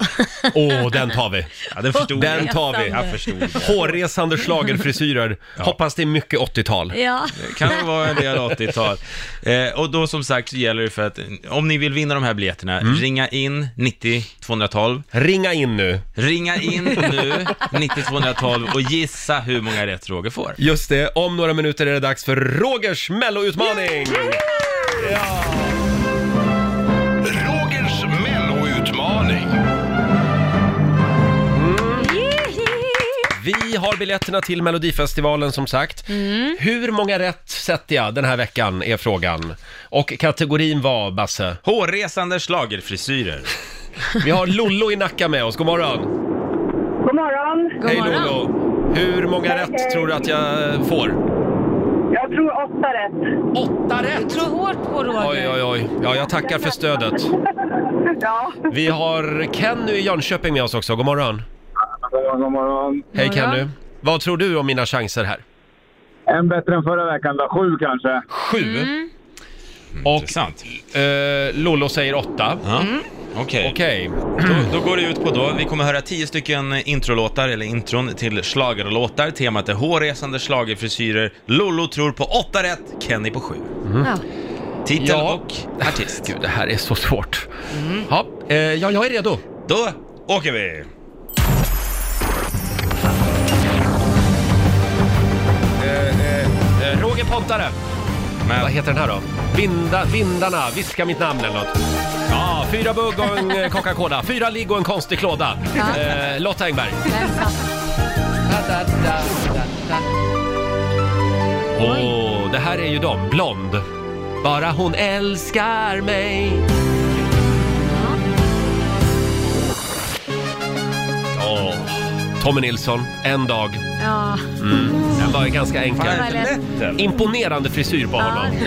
A: Åh, den tar vi.
F: Ja, den förstod
A: Den
F: jag.
A: tar vi.
F: Jag förstod. det.
A: Hårresande schlagerfrisyrer. Hoppas det är mycket 80-tal.
B: Ja.
F: Kan det vara en del 80-tal. Eh, och då som sagt så gäller det för att eh, om ni vill vinna de här biljetterna,
A: Mm.
F: ringa in 90 212
A: Ringa in nu.
F: Ringa in nu, 9212 och gissa hur många rätt Roger får.
A: Just det, om några minuter är det dags för Rogers melloutmaning!
D: Rogers melloutmaning.
A: Vi har biljetterna till Melodifestivalen som sagt. Hur många rätt sätter jag den här veckan är frågan. Och kategorin var, Basse?
F: Hårresande schlagerfrisyrer.
A: Vi har Lollo i Nacka med oss, god morgon.
I: God morgon.
B: God
A: Hej
B: morgon.
A: Lollo! Hur många rätt tror du att jag eh, får?
I: Jag tror åtta rätt.
A: Åtta rätt!
B: Slå hårt på Roger.
A: Oj, oj, oj. Ja, jag tackar för stödet.
I: Ja.
A: Vi har Kenny i Jönköping med oss också, god morgon.
J: God morgon, god morgon.
A: Hej
B: Morgon.
A: Kenny. Vad tror du om mina chanser här?
J: En bättre än förra veckan då, sju kanske.
B: Mm.
A: Sju. Och
F: Sant.
A: eh, Lollo säger åtta.
F: Ja. Okej. Då, då går det ut på då, vi kommer höra tio stycken introlåtar, eller intron till schlagerlåtar. Temat är hårresande schlagerfrisyrer. Lollo tror på åtta rätt, Kenny på sju. Titel och artist.
A: Gud, det här är så svårt. Ja, eh, ja, jag är redo.
F: Då åker vi!
A: Eh, Roger Pontare. Vad heter den här då? Vinda, vindarna, viska mitt namn eller något. Ja, fyra bugg och en eh, Coca-Cola. Fyra ligg och en konstig klåda.
K: Ja.
A: Eh, Lotta Engberg. Åh, det här är ju dem. Blond. Bara hon älskar mig. Åh, Tommy Nilsson, en dag.
K: Ja.
A: Mm. Den var ju ganska enkel.
K: Fan, det är lätt, eller?
A: Imponerande frisyr på honom.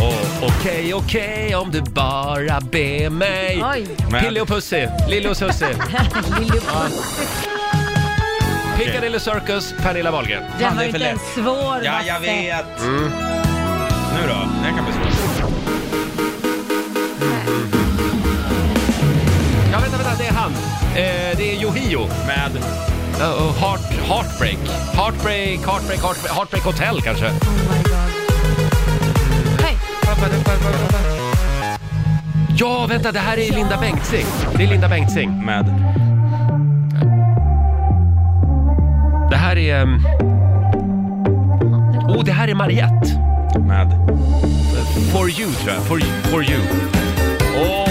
A: Åh, Okej, okej, om du bara ber mig.
K: Oj.
A: Pille och Pussy, Lille och Sussie. Piccadilly Circus, Pernilla Wahlgren.
B: Det var inte en svår
F: Ja, jag
B: Basse.
F: vet!
A: Mm.
F: Nu då, det här kan bli svårt.
A: Ja, vänta, vänta, det är han. Eh, det är Yohio.
F: Med?
A: heart, heartbreak. Heartbreak, Heartbreak, Heartbreak, Heartbreak Hotel kanske. Ja, vänta, det här är Linda Bengtzing. Det är Linda Bengtzing.
F: Med?
A: Det här är... ehm, Oh, det här är Mariette.
F: Med?
A: For you, tror jag. For you. For you. Oh.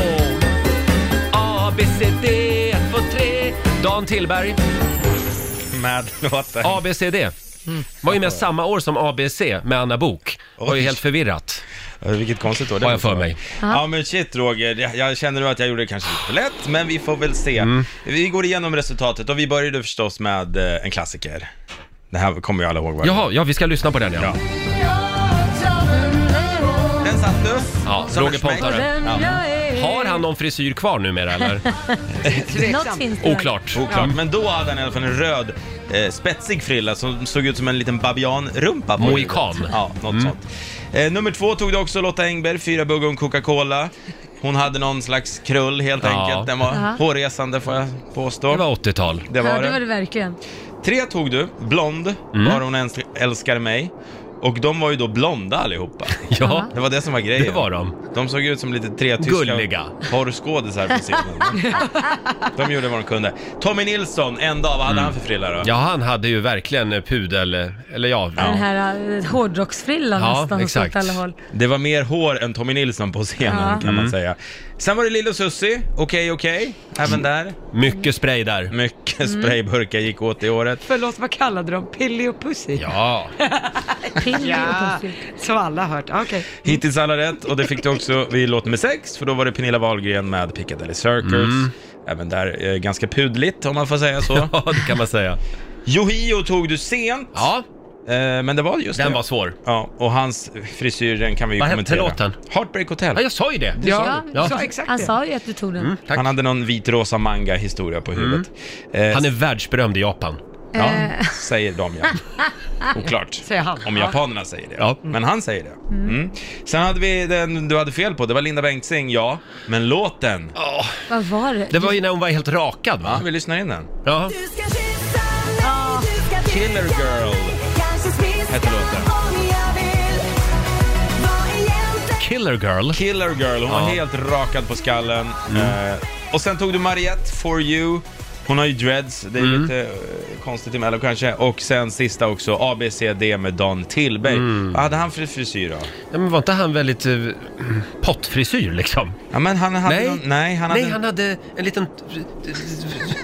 A: A, B, C, D, 1, 2, 3. Dan Tillberg.
F: Med låten?
A: A, B, C, D. Var ju med samma år som ABC med Anna Bok. Var ju
F: Oj.
A: helt förvirrat.
F: Ja, Eh, Vilket konstigt år det
A: Har jag
F: måste
A: för
F: vara.
A: mig.
F: Ja men shit Roger, jag, jag känner nog att jag gjorde det kanske lite för lätt, men vi får väl se.
A: Mm.
F: Vi går igenom resultatet och vi började förstås med eh, en klassiker. Det här kommer ju alla ihåg. vad det
A: Jaha, ja vi ska lyssna på den ja.
F: Ja. var. Den satt du.
A: Ja,
F: Som
A: Roger
F: en smäck.
A: Pontare.
F: Ja.
A: Har han någon frisyr kvar numera eller?
B: Något finns det.
A: Oklart. Mm.
F: Oklart, men då hade han i alla fall en röd eh, spetsig frilla som såg ut som en liten babianrumpa. på
A: Mohikan.
F: huvudet. Ja, något
A: Mm.
F: sånt. Eh, nummer två tog det också Lotta Engberg, fyra bugg och en Coca-Cola. Hon hade någon slags krull helt
A: Ja.
F: enkelt. Den var
B: Jaha.
F: hårresande får jag påstå.
A: Det var 80-tal.
F: Det var
B: ja, det
F: det.
B: var det verkligen.
F: Tre tog du, blond,
A: Mm.
F: bara hon ens älskar mig. Och de var ju då blonda allihopa.
A: Ja.
F: Det var det som var grejen.
A: Det var de.
F: De såg ut som lite tre tyska
A: Gulliga.
F: porrskådisar på scenen. de gjorde vad de kunde. Tommy Nilsson, en dag, vad hade han för frilla då?
A: Mm. Ja, han hade ju verkligen eh, pudel, eh, eller ja.
B: Den här uh, hårdrocksfrillan
A: Ja,
B: nästan, och så
A: exakt.
B: åt alla håll.
F: Det var mer hår än Tommy Nilsson på scenen
B: Ja.
F: kan
A: Mm.
F: man säga. Sen var det Lilo Susie, okej okej,
A: Mm.
F: även där.
A: Mycket spray där.
F: Mycket sprayburkar gick åt i året.
C: Förlåt, vad kallade de Pilli och Pussy?
A: Ja.
B: Pilli
C: Ja,
B: och Pussy.
C: som alla har hört. Okej.
F: Hittills alla rätt och det fick du också vid låt nummer sex, för då var det Pernilla Wahlgren med Piccadilly Circus. Även där eh, ganska pudligt om man får säga så.
A: Mm. ja, det kan man säga.
F: Yohio tog du sent,
A: Ja,
F: eh, men det var just
A: den
F: det.
A: var svår.
F: Ja, och hans frisyr, den kan vi ju
A: Vad hette
F: kommentera.
A: låten?
F: Heartbreak Hotel.
A: Ja, jag sa ju det.
B: Ja,
A: Ja.
C: sa exakt
B: han
C: det.
B: sa ju att du tog den.
A: Tack. Mm.
F: Han hade någon vit rosa manga historia på huvudet. Eh,
A: Han är världsberömd i Japan.
F: Ja, säger de ja. Oklart.
C: Säger han.
F: Om
C: Ja.
F: japanerna säger det.
A: Ja.
F: Men han säger det. Mm. Sen hade vi den du hade fel på, det var Linda Bengtzing, ja. Men låten,
B: Vad var det?
A: Det var ju när hon var helt rakad
F: ja,
A: va?
F: vi lyssnar in den.
A: Ja.
F: Killer Girl hette låten.
A: Killer Girl.
F: Killer Girl, hon var
A: Ja. Mm.
F: helt rakad på skallen. Eh, och sen tog du Mariette, For You. Hon har ju dreads, det är
A: Mm.
F: lite eh, konstigt emellan kanske. Och sen sista också, ABCD med Dan Tillberg.
A: Mm.
F: Vad hade han för frisyr då?
A: Ja, men var inte han väldigt eh, pottfrisyr liksom?
F: Ja, men han hade
A: Nej.
F: Någon, nej, han hade
A: Nej,
F: en-
A: han hade en liten...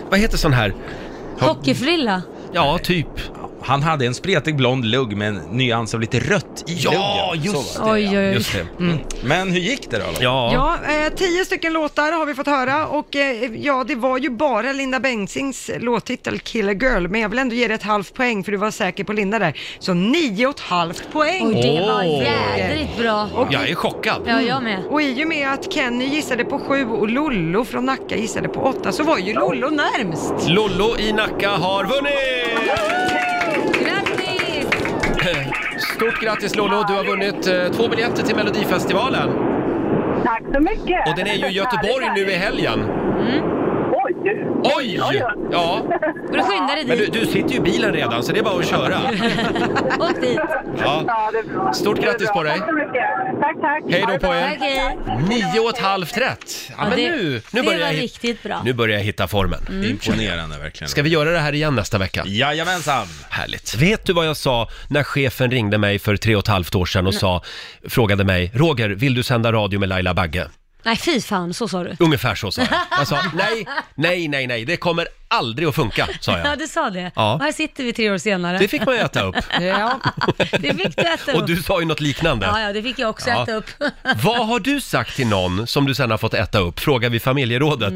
A: Vad heter sån här?
B: Hockeyfrilla?
A: Ja, typ.
F: Han hade en spretig blond lugg med en nyans av lite rött i
A: Ja,
F: luggen.
A: just
F: Så var det.
B: Oj, oj, Mm. oj.
A: Just det.
F: Men hur gick det då? Lotta?
A: Ja.
C: Ja, eh, tio stycken låtar har vi fått höra och eh, ja, det var ju bara Linda Bengtzings låttitel Killer Girl, men jag vill ändå ge dig ett halvt poäng för du var säker på Linda där. Så nio och ett halvt poäng!
B: Oj, det var
A: Åh.
B: jädrigt bra.
A: Jag är chockad.
B: Ja, jag med.
C: Och i och med att Kenny gissade på sju och Lollo från Nacka gissade på åtta så var ju Lollo närmst.
A: Lollo i Nacka har vunnit!
B: Grattis!
A: Stort grattis Lolo, du har vunnit eh, två biljetter till Melodifestivalen.
I: Tack så mycket. Mm.
A: Och den är ju i Göteborg nu i helgen.
I: Oj!
A: Oj! Ja.
B: Får du skynda dig
A: Men du,
B: dit.
A: du sitter ju i bilen redan så det är bara att köra.
B: Åk dit.
A: Ja.
I: det är bra.
A: Stort
I: Det är
A: grattis
I: bra.
A: på dig.
I: Tack så mycket. Tack, tack.
A: Hej då
I: Ha det
A: på
I: bra.
A: er.
B: Tack, hej.
A: Nio och ett halvt rätt. Ja,
B: Ja,
A: men
B: det-
A: nu,
B: det
A: nu, börjar jag
B: var
A: hitta,
B: riktigt bra. Mm.
A: nu börjar jag hitta formen. Mm.
F: Imponerande verkligen.
A: Ska vi göra det här igen nästa vecka?
F: Jajamensan!
A: Härligt. Vet du vad jag sa när chefen ringde mig för tre och ett halvt år sedan och sa, frågade mig, Roger, vill du sända radio med Laila Bagge?
B: Nej, fy fan, så sa du.
A: Ungefär så sa jag. Jag sa, nej, nej, nej, nej, det kommer aldrig att funka, sa
B: Ja,
A: jag.
B: du sa det.
A: Ja.
B: Och här sitter vi tre år senare.
A: Det fick man ju äta upp.
C: Ja.
B: Det fick du äta upp.
A: Och du sa ju något
B: Ja,
A: liknande.
B: ja, det fick jag också
A: Ja.
B: äta upp.
A: Vad har du sagt till någon som du sen har fått äta upp? Frågar vi familjerådet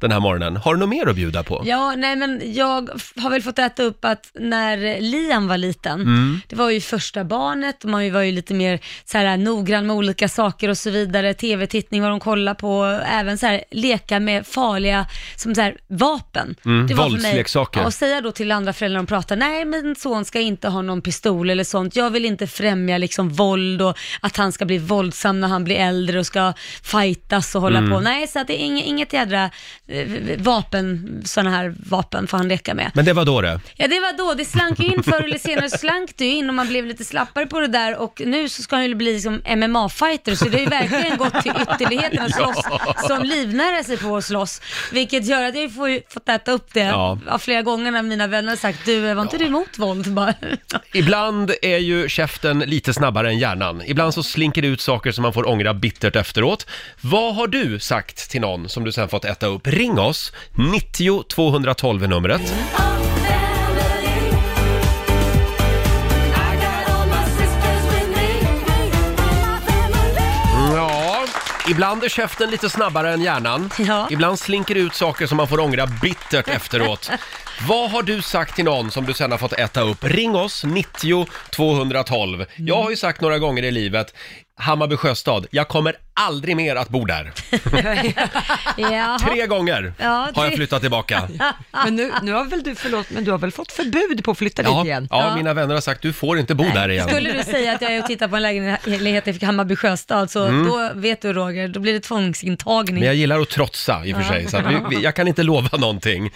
A: den här morgonen. Har du något mer att bjuda på?
B: Mm. Ja, nej men jag f- har väl fått äta upp att när Liam var liten, det var ju första barnet och man var ju lite mer så här, äh, noggrann med olika saker och så vidare, tv-tittning, vad de kollar på, även så här, leka med farliga som så här, vapen.
A: Mm,
B: Det var för mig-
A: våldsleksaker.
B: Ja, och säga då till andra föräldrar de pratar, nej min son ska inte ha någon pistol eller sånt, jag vill inte främja liksom våld och att han ska bli våldsam när han blir äldre och ska fightas och hålla
A: Mm.
B: på. Nej, så att det är inget, inget jädra eh, vapen, sådana här vapen får han leka med.
A: Men det var då det.
B: Ja, det var då, det slank ju in förr eller senare så slank det ju in och man blev lite slappare på det där och nu så ska han ju bli som MMA-fighter så det har ju verkligen gått till ytterligheten att slåss som livnära sig på att slåss. Vilket gör att jag får ju fått äta upp det
A: Ja.
B: av flera gånger när mina vänner har sagt du, var inte du emot våld? Bara,
A: Ibland är ju käften lite snabbare än hjärnan. Ibland så slinker det ut saker som man får ångra bittert efteråt. Vad har du sagt till någon som du sen fått äta upp? Ring oss! 90 212 är numret. Ja, ibland är käften lite snabbare än hjärnan.
B: Ja.
A: Ibland slinker det ut saker som man får ångra bittert efteråt. Vad har du sagt till någon som du sen har fått äta upp? Ring oss, 90 212. Jag har ju sagt några gånger i livet, Hammarby Sjöstad, jag kommer aldrig mer att bo där.
B: Jaha.
A: Tre gånger
B: Ja,
A: har jag
B: tre-
A: flyttat tillbaka.
C: Men nu, nu har väl du, förlåt, men du har väl fått förbud på att flytta dit
A: Ja,
C: igen?
A: ja, mina vänner har sagt, du får inte bo där igen.
B: Skulle du säga att jag är och tittar på en lägenhet i Hammarby Sjöstad så då vet du Roger, då blir det tvångsintagning.
A: Mm. Men jag gillar att trotsa i och för sig, så att vi, vi, jag kan inte lova någonting.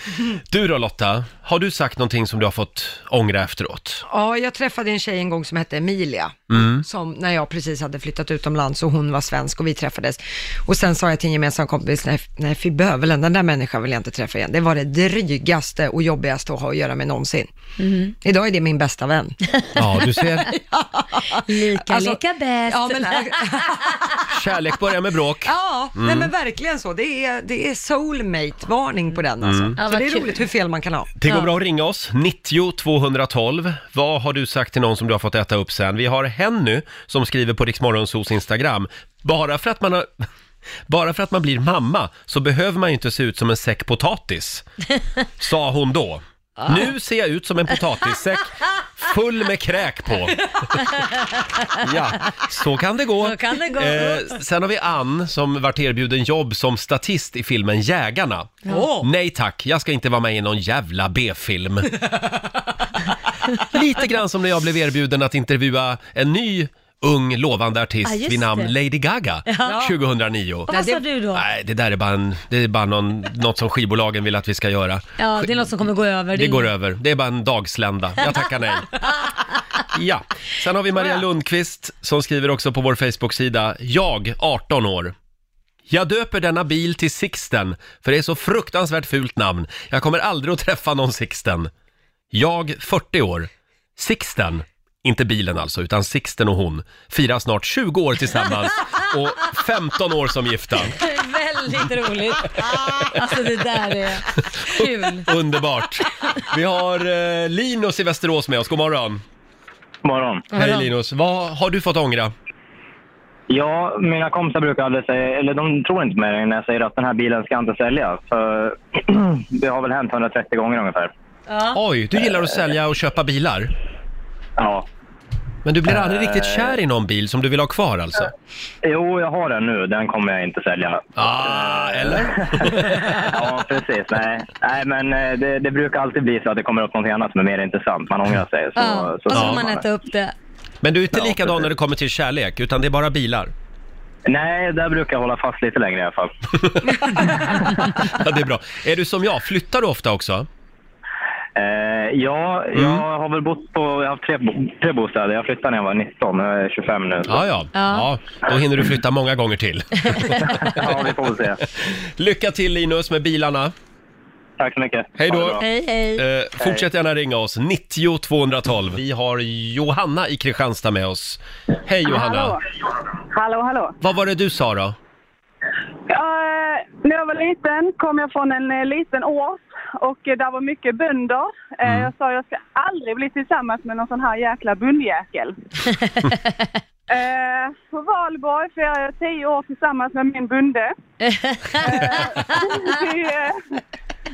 A: Du då Lotta, har du sagt någonting som du har fått ångra efteråt?
C: Ja, jag träffade en tjej en gång som hette Emilia, som när jag precis hade flyttat utomlands och hon var svensk och vi träffades. Och sen sa jag till en gemensam kompis, nej, nej fy bövelen, den där människan vill jag inte träffa igen. Det var det drygaste och jobbigaste att ha att göra med någonsin.
B: Mm.
C: Idag är det min bästa vän.
A: Ja, du ser.
B: Lika
C: Alltså,
B: leka bäst.
C: Ja, men,
A: Kärlek börjar med bråk.
C: ja nej, men verkligen så. Det är, det är soulmate-varning på den alltså.
B: Ja,
C: så
B: vad
C: det är
B: kul.
C: roligt hur fel man kan ha.
A: Det går bra att ringa oss, 90 212. Vad har du sagt till någon som du har fått äta upp sen? Vi har Henny som skriver på Riksmorgonsos Instagram. Bara för att man har... Bara för att man blir mamma så behöver man ju inte se ut som en säck potatis, sa hon då.
B: Ah.
A: Nu ser jag ut som en potatissäck full med kräk på. Ja, så kan det gå.
B: Så kan det gå.
A: Eh, sen har vi Ann som vart erbjuden jobb som statist i filmen Jägarna. Nej tack, jag ska inte vara med i någon jävla B-film. Lite grann som när jag blev erbjuden att intervjua en ny ung lovande artist
B: Ja, Ah, just
A: vid namn
B: det.
A: Lady Gaga 2009.
B: Och Vad sa du då?
A: Nej, det där är bara, en, det är bara någon, något som skivbolagen vill att vi ska göra.
B: Ja, det är något som kommer gå över.
A: Det går över. Det är bara en dagslända. Jag tackar nej. Ja. Sen har vi Maria Lundqvist som skriver också på vår Facebook-sida. Jag, 18 år. Jag döper denna bil till Sixten, för det är så fruktansvärt fult namn. Jag kommer aldrig att träffa någon Sixten. Jag, 40 år. Sixten, inte bilen alltså, utan Sixten och hon, firar snart 20 år tillsammans och 15 år som gifta.
B: Väldigt roligt. Alltså det där är kul.
A: Underbart. Vi har eh, Linus i Västerås med oss. God morgon.
J: Morgon.
A: Hej Linus, vad har du fått ångra?
J: Ja, mina kompisar brukar aldrig säga, eller de tror inte mig när jag säger att den här bilen ska inte säljas. För Eh, det har väl hänt 130 gånger ungefär.
B: Ja.
A: Oj, du gillar att sälja och köpa bilar.
J: Ja.
A: Men du
J: Eh.
A: blir aldrig riktigt kär i någon bil som du vill ha kvar alltså?
J: Jo, jag har den nu. Den kommer jag inte sälja.
A: Ah, eller?
J: Ja, precis. Nej, Nej men eh, det, det brukar alltid bli så att det kommer upp något annat som är mer intressant. Man ångrar sig. Så,
B: Ja. Och så får
J: säljer
B: man
J: det.
B: äta upp det.
A: Men du är inte
J: Ja,
A: likadan när det kommer till kärlek, utan det är bara bilar.
J: Nej, där brukar jag hålla fast lite längre i alla fall.
A: Ja, det är bra. Är du som jag? Flyttar du ofta också?
J: Eh, ja,
A: Mm.
J: jag har väl bott på, jag har haft tre, bo- tre bostäder. Jag flyttade när jag var 19, jag är 25 nu.
A: Ja, ja. ja. Då hinner du flytta många gånger till.
J: ja, vi får väl se.
A: Lycka till Linus med bilarna.
J: Tack så mycket.
A: Hej
J: Ha det
A: då.
J: bra.
B: Hej, hej.
A: Eh, fortsätt gärna ringa oss, 90 212. Vi har Johanna i Kristianstad med oss. Hej Johanna!
K: Hallå, hallå. hallå.
A: Vad var det du sa då?
K: Eh, när jag var liten kom jag från en eh, liten ås och eh, där var mycket bönder. Eh,
A: Mm.
K: Jag sa jag ska aldrig bli tillsammans med någon sån här jäkla bundjäkel. eh, på valborg firade jag tio år tillsammans med min bunde. eh, vi, eh,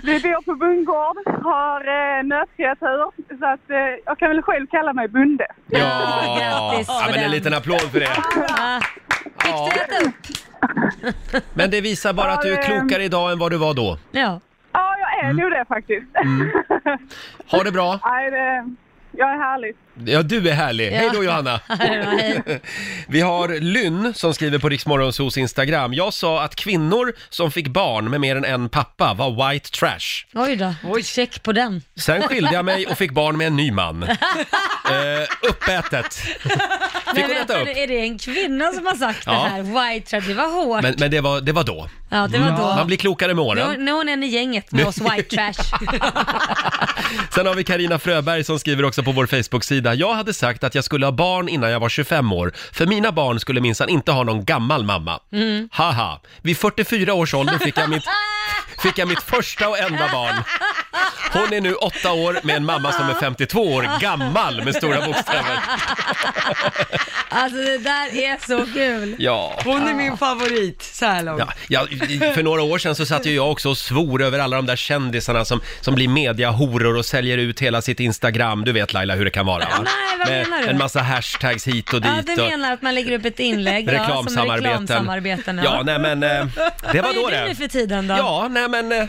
K: vi bor på bundgård, har eh, nötkreatur, så att eh, jag kan väl själv kalla mig bunde.
A: Ja,
K: grattis
A: ja
K: för
A: men en
K: den.
A: liten applåd för det. Men det visar bara att du är klokare idag än vad du var då.
B: Ja.
K: Ja, jag är nog det faktiskt.
A: Ha det bra!
K: Nej, det, jag är härlig.
A: Ja, du är härlig. Hej då
K: Ja.
A: Johanna!
K: Hej då,
A: Vi har Lynn som skriver på Riksmorgonsos Instagram. Jag sa att kvinnor som fick barn med mer än en pappa var white trash.
B: Oj då, check på den.
A: Sen skilde jag mig och fick barn med en ny man. Eh, uppätet.
B: Men
A: hon äta
B: vänta nu,
A: upp?
B: är det en kvinna som har sagt
A: Ja.
B: det här? White trash, det var hårt.
A: Men, men det, var, det var då.
B: Ja, det var
A: Mm.
B: då.
A: Man blir klokare med
B: Nu,
A: åren.
B: nu är hon en i gänget med oss white trash.
A: Sen har vi Karina Fröberg som skriver också på vår Facebook-sida. Jag hade sagt att jag skulle ha barn innan jag var 25 år, för mina barn skulle minsann inte ha någon gammal mamma.
B: Mm.
A: Haha, vid 44 års ålder fick jag mitt, fick jag mitt första och enda barn. Hon är nu åtta år med en mamma som är 52 år gammal med stora bokstäver.
B: Alltså det där är så kul.
A: Ja.
C: Hon är min favorit så här långt.
A: Ja, ja, i- för några år sedan så satt ju jag också och svor över alla de där kändisarna som, som blir mediahoror och säljer ut hela sitt Instagram. Du vet Laila hur det kan vara va?
B: Nej, vad
A: Med
B: menar du?
A: en massa hashtags hit och dit.
B: Ja, du
A: och...
B: menar att man lägger upp ett inlägg ja, som
A: Reklamsamarbeten.
B: reklamsamarbeten.
A: Ja, nej men eh, det var
B: Vad
A: då
B: gör du
A: det.
B: nu för tiden då?
A: Ja, nej men eh,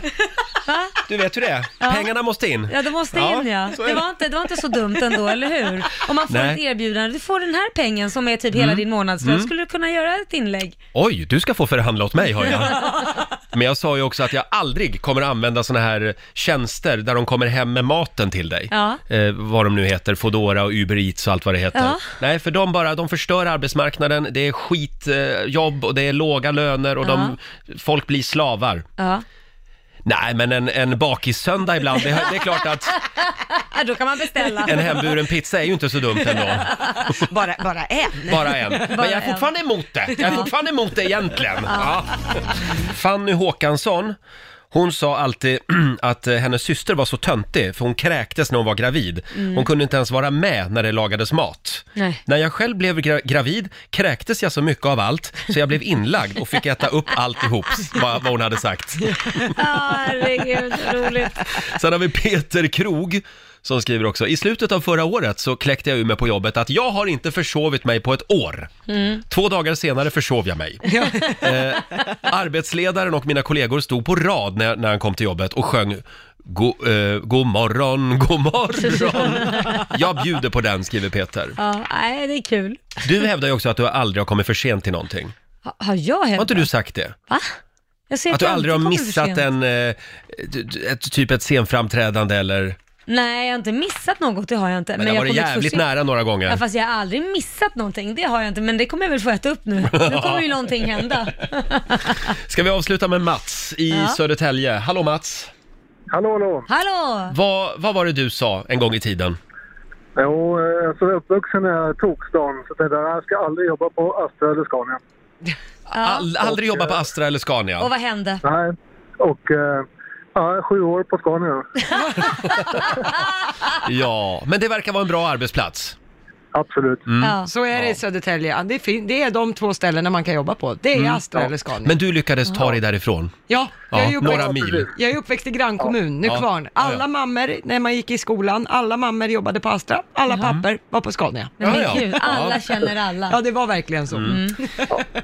A: du vet hur det är.
B: Ja.
A: Pengarna måste in.
B: Ja, det måste in ja.
A: så är
B: Det var, inte, det var inte så dumt ändå, eller hur? Om man får
A: Nej.
B: ett erbjudande, du får den här pengen som är typ hela
A: Mm.
B: din månadslön,
A: Mm.
B: skulle du kunna göra ett inlägg?
A: Oj, du ska få förhandla åt mig hör jag. Men jag sa ju också att jag aldrig kommer använda såna här tjänster där de kommer hem med maten till dig.
B: Ja.
A: Eh, vad de nu heter, Foodora och Uber Eats och allt vad det heter.
B: Ja.
A: Nej, för de bara, de förstör arbetsmarknaden, det är skitjobb eh, jobb och det är låga löner och de, folk blir slavar.
B: Ja.
A: Nej, men en, en bakissöndag ibland, det, det är klart att
B: Ja, då kan man beställa.
A: en hemburen pizza är ju inte så dumt ändå.
C: Bara, bara en.
A: Bara en. Men
B: Bara
A: jag är
B: en.
A: fortfarande emot det. Jag är
B: Ja.
A: fortfarande emot det egentligen.
B: Ja.
A: Ja. Fanny Håkansson, hon sa alltid att eh, hennes syster var så töntig för hon kräktes när hon var gravid.
B: Mm.
A: Hon kunde inte ens vara med när det lagades mat.
B: Nej.
A: När jag själv blev gra- gravid kräktes jag så mycket av allt så jag blev inlagd och fick äta upp alltihop, vad, vad hon hade sagt.
B: Ja, herregud, så roligt.
A: Sen har vi Peter Krog som skriver också, i slutet av förra året så kläckte jag ur mig på jobbet att jag har inte försovit mig på ett år.
B: Mm.
A: Två dagar senare försov jag mig. eh, arbetsledaren och mina kollegor stod på rad när, när han kom till jobbet och sjöng Go, eh, God morgon, god morgon. Jag bjuder på den, skriver Peter.
B: Ja, nej, det är kul.
A: Du hävdar ju också att du aldrig har kommit för sent till någonting.
B: Ha- Har jag hänt
A: Har inte du sagt det?
B: Va? Jag ser
A: Att du
B: alltid
A: aldrig har
B: kommer för
A: missat
B: sent.
A: en, eh, d- d- ett, typ ett scenframträdande eller...
B: Nej, jag har inte missat något, det har jag inte.
A: Men, det
B: jag
A: har varit
B: kommer få
A: jävligt
B: se-
A: nära några gånger.
B: Ja, fast jag har aldrig missat någonting, det har jag inte, men det kommer jag väl få äta upp nu. Nu kommer ju någonting hända.
A: Ska vi avsluta med Mats i
B: Ja.
A: Södertälje? Hallå Mats!
L: Hallå, hallå.
B: Hallå!
A: Vad, vad var det du sa en gång i tiden?
L: Jo, eh, alltså uppvuxen är tokstan, så det där jag ska aldrig jobba på Astra eller Scania.
A: All, aldrig jobba
C: eh,
A: på Astra eller Scania?
B: Och vad hände?
L: Nej, och eh, ja, sju år på Scania.
A: Ja, men det verkar vara en bra arbetsplats.
L: Absolut.
A: Mm.
C: Så är det i Södertälje. Ja, Det är, fin- det är de två ställena man kan jobba på. Det är Astra eller Scania.
A: Mm. Men du lyckades ta dig därifrån?
C: Ja, jag,
A: Ja,
C: är ju uppväxt,
A: några mil.
C: jag är uppväxt i grannkommun,
A: Ja.
C: Nykvarn.
A: Ja, ja.
C: Alla mammor, när man gick i skolan, alla mammor jobbade på Astra, alla papper var på Scania.
B: Men Ja, ja. gud, alla känner alla.
C: Ja, det var verkligen så.
A: Mm.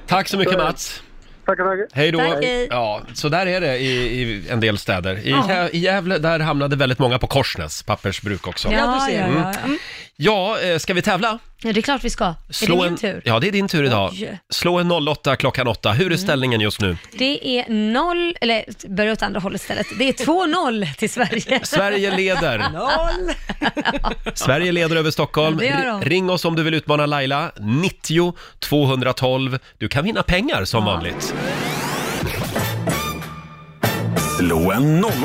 A: Tack så mycket Mats!
L: Tackar, tackar.
A: Hej då!
C: Tack, hej.
A: Ja, så där är det i, i en del städer. I,
C: Ja.
A: Gä- I Gävle, där hamnade väldigt många på Korsnäs pappersbruk också.
B: Ja, du ser.
A: Mm.
B: Ja, ja.
A: Ja, eh, ska vi tävla?
B: Ja, det är klart vi ska. är
A: Slå
B: det min
A: en,
B: tur?
A: Ja, det är din tur idag.
B: Oj.
A: Slå en 08 klockan 8. Hur är
B: Mm.
A: ställningen just nu?
B: Det är 0, eller börja åt andra hållet istället. Det är 2-0 till Sverige.
A: Sverige leder.
B: Noll.
A: Sverige leder över Stockholm.
B: Ja, det gör de.
A: R- Ring oss om du vill utmana Laila. 90 212. Du kan vinna pengar som vanligt.
M: Slå en 08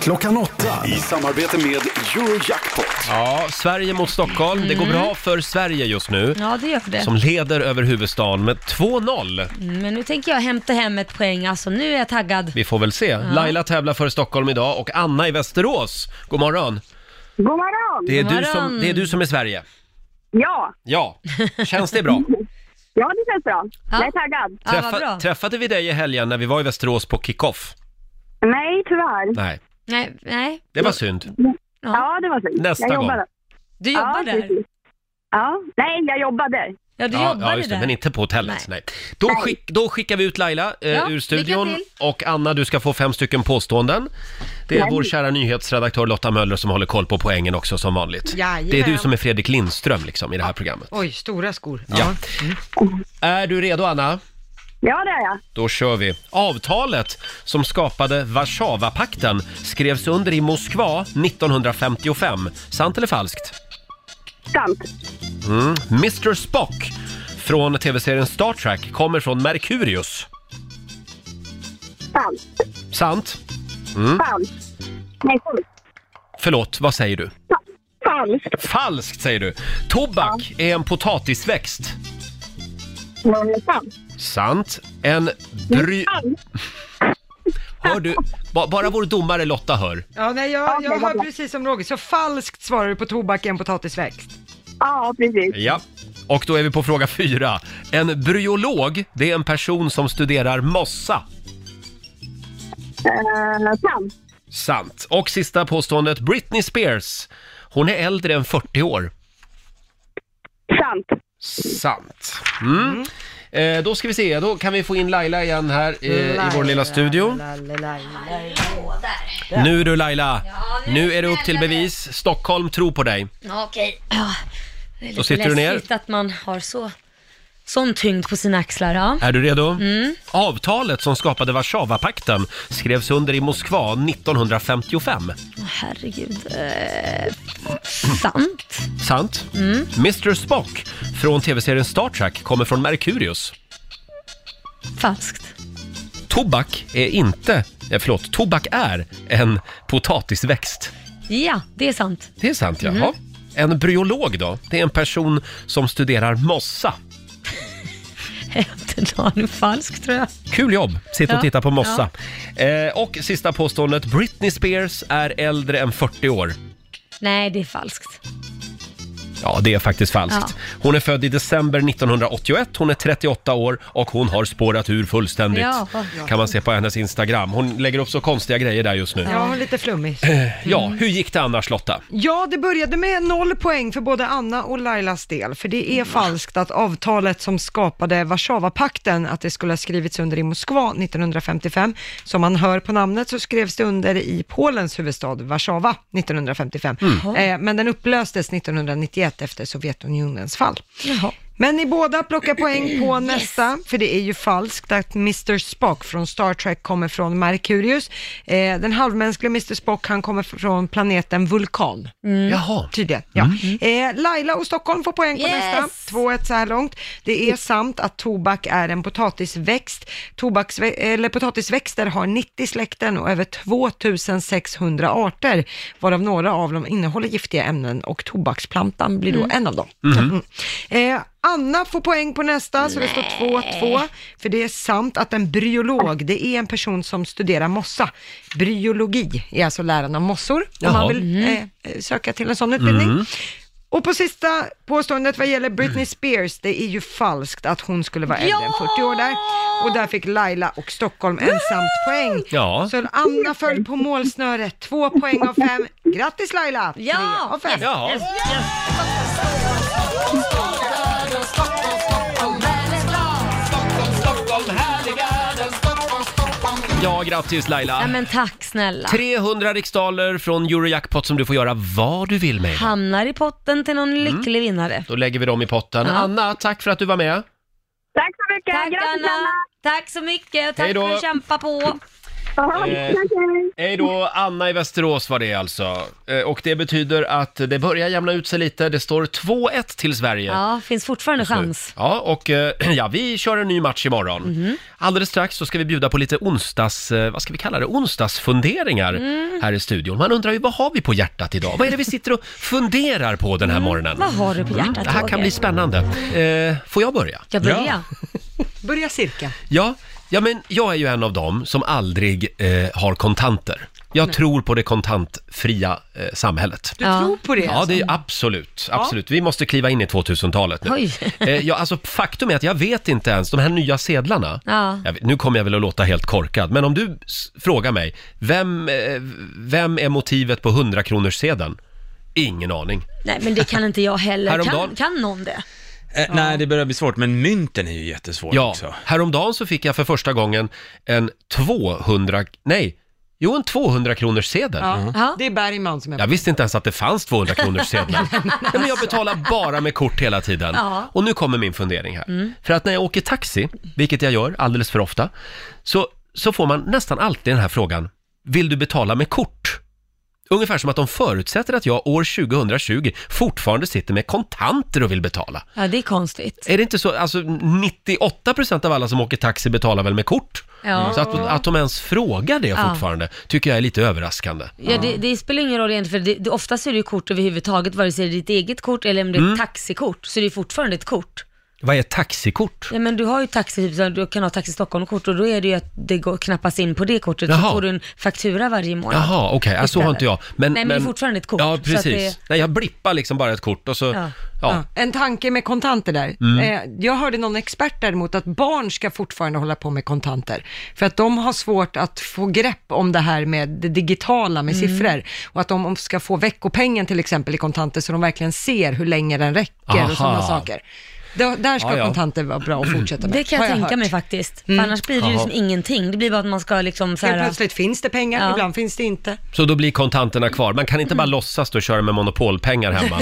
M: klockan 8 i samarbete med Eurojackpot.
A: Ja, Sverige mot Stockholm. Det går
B: Mm.
A: bra för Sverige just nu.
B: Ja, det gör för det.
A: Som leder över huvudstaden med 2-0.
B: Mm, Men nu tänker jag hämta hem ett poäng, alltså nu är jag taggad.
A: Vi får väl se. Laila tävlar för Stockholm idag och Anna i Västerås. God morgon.
K: God morgon!
A: Det är, du som, det är du som är Sverige.
K: Ja,
A: Ja, känns det bra?
K: ja det känns bra. Jag är taggad.
A: Träffa, Träffade vi dig i helgen när vi var i Västerås på kick-off?
K: Nej, tyvärr.
A: Nej,
B: Nej, nej.
A: det var synd.
B: Ja,
K: det var synd.
A: Nästa
K: jag
A: gång.
K: jobbade.
B: Du jobbade?
K: Ja, precis. ja, nej, jag jobbade.
B: Ja,
A: ja, just det, men inte på hotellet. Nej. Då, Skick, då skickar vi ut Laila eh,
K: Ja,
A: ur
K: lycka
A: studion
K: till.
A: och Anna, du ska få fem stycken påståenden. Det är
C: Nej.
A: vår kära nyhetsredaktör Lotta Möller som håller koll på poängen också som vanligt.
C: Jajamän.
A: Det är du som är Fredrik Lindström liksom i det här programmet.
C: Oj, stora skor. Mm.
A: Ja. Är du redo Anna?
K: Ja, det är jag.
A: Då kör vi. Avtalet som skapade Warszawapakten skrevs under i Moskva 1955. Sant eller falskt?
K: Sant.
A: Mm. Mr Spock från tv-serien Star Trek kommer från Merkurius.
K: Sant.
A: Sant? Mm.
K: Falskt. Nej, sant.
A: Förlåt, vad säger du?
K: Falskt.
A: Falskt säger du. Tobak är en potatisväxt.
K: Men sant.
A: Sant. En bry... Hör du? Ba- bara vår domare Lotta hör.
C: Ja, nej, jag, jag har precis som Roger, så falskt svarar du på tobak än potatisväxt.
K: Ja, precis.
A: Ja. Och då är vi på fråga fyra. En bryolog, det är en person som studerar mossa.
K: Eh, sant.
A: Sant. Och sista påståendet, Britney Spears. Hon är äldre än 40 år.
K: Sant.
A: Sant. Mm. Eh, då ska vi se, då kan vi få in Laila igen här eh, i vår lilla studio. Nu du Laila, nu är det upp till bevis. Stockholm tror på dig.
B: Ja, okej. Ja, det är lite
A: Då sitter du ner.
B: läskigt att man har så, sån tyngd på sina axlar. Ja.
A: Är du redo? Avtalet som skapade Warszawapakten skrevs under i Moskva 1955.
B: Åh, herregud. Eh, sant.
A: Sant?
B: Mm.
A: Mr Spock från tv-serien Star Trek kommer från Merkurius.
B: Falskt.
A: Tobak är inte, eh, förlåt, tobak är en potatisväxt.
B: Ja, det är sant.
A: Det är sant, jaha.
B: Mm.
A: En bryolog då? Det är en person som studerar mossa.
B: Nu falskt tror jag.
A: Kul jobb, sitta och
B: Ja,
A: titta på mossa. Eh, och sista påståendet, Britney Spears är äldre än 40 år.
B: Nej, det är falskt.
A: Ja, det är faktiskt falskt. Hon är född i december 1981, hon är 38 år och hon har spårat ur fullständigt.
C: Ja.
A: Kan man se på hennes Instagram. Hon lägger upp så konstiga grejer där just nu.
C: Ja, hon är lite flummig.
A: Eh, Ja, hur gick det annars Lotta?
C: Ja, det började med noll poäng för både Anna och Lailas del, för det är falskt att avtalet som skapade Warszawapakten, att det skulle ha skrivits under i Moskva 1955. Som man hör på namnet så skrevs det under i Polens huvudstad Warszawa 1955,
K: Mm.
C: eh, men den upplöstes 1991 efter Sovjetunionens fall.
B: Jaha.
C: Men ni båda plockar poäng på nästa, för det är ju falskt att Mr Spock från Star Trek kommer från Merkurius. Eh, den halvmänskliga Mr Spock, han kommer från planeten Vulkan.
K: Mm. Jaha.
C: Tydligen, ja. Eh, Laila och Stockholm får poäng på
K: Yes.
C: nästa. 2-1 så här långt. Det är sant att tobak är en potatisväxt. Tobaksvä- eller potatisväxter har 90 släkten och över 2600 arter, varav några av dem innehåller giftiga ämnen och tobaksplantan blir då
K: Mm.
C: en av dem. Mm. Eh, Anna får poäng på nästa, så det står 2-2. För det är sant att en bryolog, det är en person som studerar mossa. Bryologi är alltså läran av mossor, om
K: Jaha.
C: man vill eh, söka till en sån utbildning.
K: Mm.
C: Och på sista påståendet vad gäller Britney Spears, det är ju falskt att hon skulle vara äldre än 40 år där. Och där fick Laila och Stockholm ensamt poäng.
A: Ja.
C: Så Anna föll på målsnöret, två poäng av fem. Grattis Laila! Ja! Tre av fem.
A: Ja. Yes,
K: Stockholm, Stockholm, härliga den Stockholm, Stockholm,
A: Ja, grattis Laila!
B: Ja, men tack snälla.
A: 300 riksdaler från Eurojackpot som du får göra vad du vill med.
B: Hamnar i potten till någon
A: Mm.
B: lycklig vinnare.
A: Då lägger vi dem i potten.
B: Ja.
A: Anna, tack för att du var med.
B: Tack så mycket! Tack Anna! Tack så mycket och tack
A: Hej då. Mm.
B: för att du kämpar på.
A: Eh, Hej då, Anna i Västerås var det alltså. Eh, Och det betyder att det börjar jämna ut sig lite. Det står 2-1 till Sverige.
B: Ja, finns fortfarande chans. Mhm.
A: Ja, och eh, ja, vi kör en ny match imorgon. Alldeles strax så ska vi bjuda på lite onsdags, eh, vad ska vi kalla det, onsdagsfunderingar
B: Mm.
A: här i studion. Man undrar ju, vad har vi på hjärtat idag? Vad är det vi sitter och funderar på den här morgonen?
B: Mm. Vad har du på hjärtat,
A: Mm. Det här
B: Roger?
A: kan bli spännande. Eh, får jag börja?
B: Jag
A: Ja.
B: börjar.
C: Börja cirka.
A: Ja, ja, men jag är ju en av dem som aldrig eh, har kontanter. Jag tror på det kontantfria eh, samhället.
C: Du Ja. tror på det,
A: Ja,
C: alltså?
A: det är absolut. absolut. Vi måste kliva in i 2000-talet nu.
B: Oj.
A: Eh, ja, alltså, faktum är att jag vet inte ens, de här nya sedlarna,
B: Ja.
A: jag vet, nu kommer jag väl att låta helt korkad, men om du s- frågar mig, vem, eh, vem är motivet på 100-kronorssedeln? Ingen aning.
B: Nej, men det kan inte jag heller.
A: Häromdagen-
B: Kan, kan någon det?
A: Eh, Nej, det börjar bli svårt, men mynten är ju jättesvår ja. också. Häromdagen så fick jag för första gången en 200, nej, jo en 200 kronors sedel.
C: Ja. Det är Bergman som är
A: Jag visste inte ens att det fanns 200 kronors sedlar.
C: Nej, men
A: Nej, men jag betalar bara med kort hela tiden.
C: Ja.
A: Och nu kommer min fundering här.
C: Mm.
A: För att när jag åker taxi, vilket jag gör alldeles för ofta, så, så får man nästan alltid den här frågan, vill du betala med kort? Ungefär som att de förutsätter att jag år 2020 fortfarande sitter med kontanter och vill betala.
B: Ja, det är konstigt.
A: Är det inte så, alltså 98% av alla som åker taxi betalar väl med kort?
B: Ja.
A: Så att, att de ens frågar det
B: Ja.
A: fortfarande tycker jag är lite överraskande.
B: Ja, det, det spelar ingen roll egentligen, för det, det, oftast är det ju kort överhuvudtaget, vare sig det är ditt eget kort eller om det är
A: Mm.
B: ett taxikort, så det är fortfarande ett kort.
A: Vad är taxikort?
B: Ja, men du har ju taxi, typ, så du kan ha Taxi Stockholm-kort och då är det ju att det går, knappas in på det kortet,
A: Jaha.
B: så får du en faktura varje månad.
A: Jaha, okej, ja, så har inte jag. Men,
B: Nej, men det är fortfarande ett kort,
A: Ja,
B: så
A: precis.
B: att det-
A: Nej, jag blippar liksom bara ett kort och så, ja.
C: Ja. En tanke med kontanter där.
A: Mm.
C: Eh, Jag hörde någon expert däremot att barn ska fortfarande hålla på med kontanter. För att de har svårt att få grepp om det här med det digitala med
B: Mm.
C: siffror. Och att de ska få veckopengen till exempel i kontanter så de verkligen ser hur länge den räcker
A: Aha.
C: och sådana saker. Då, där ska
A: Ja, ja.
C: kontanter vara bra att fortsätta med.
B: Det kan jag,
C: har
B: tänka
C: hört.
B: mig faktiskt, för
C: Mm.
B: annars blir det ju
A: Jaha.
B: liksom ingenting. Det blir bara att man ska liksom så här,
C: Helt plötsligt finns det pengar,
B: Ja.
C: ibland finns det inte.
A: Så då blir kontanterna kvar. Man kan inte
B: Mm.
A: bara låtsas då köra med monopolpengar hemma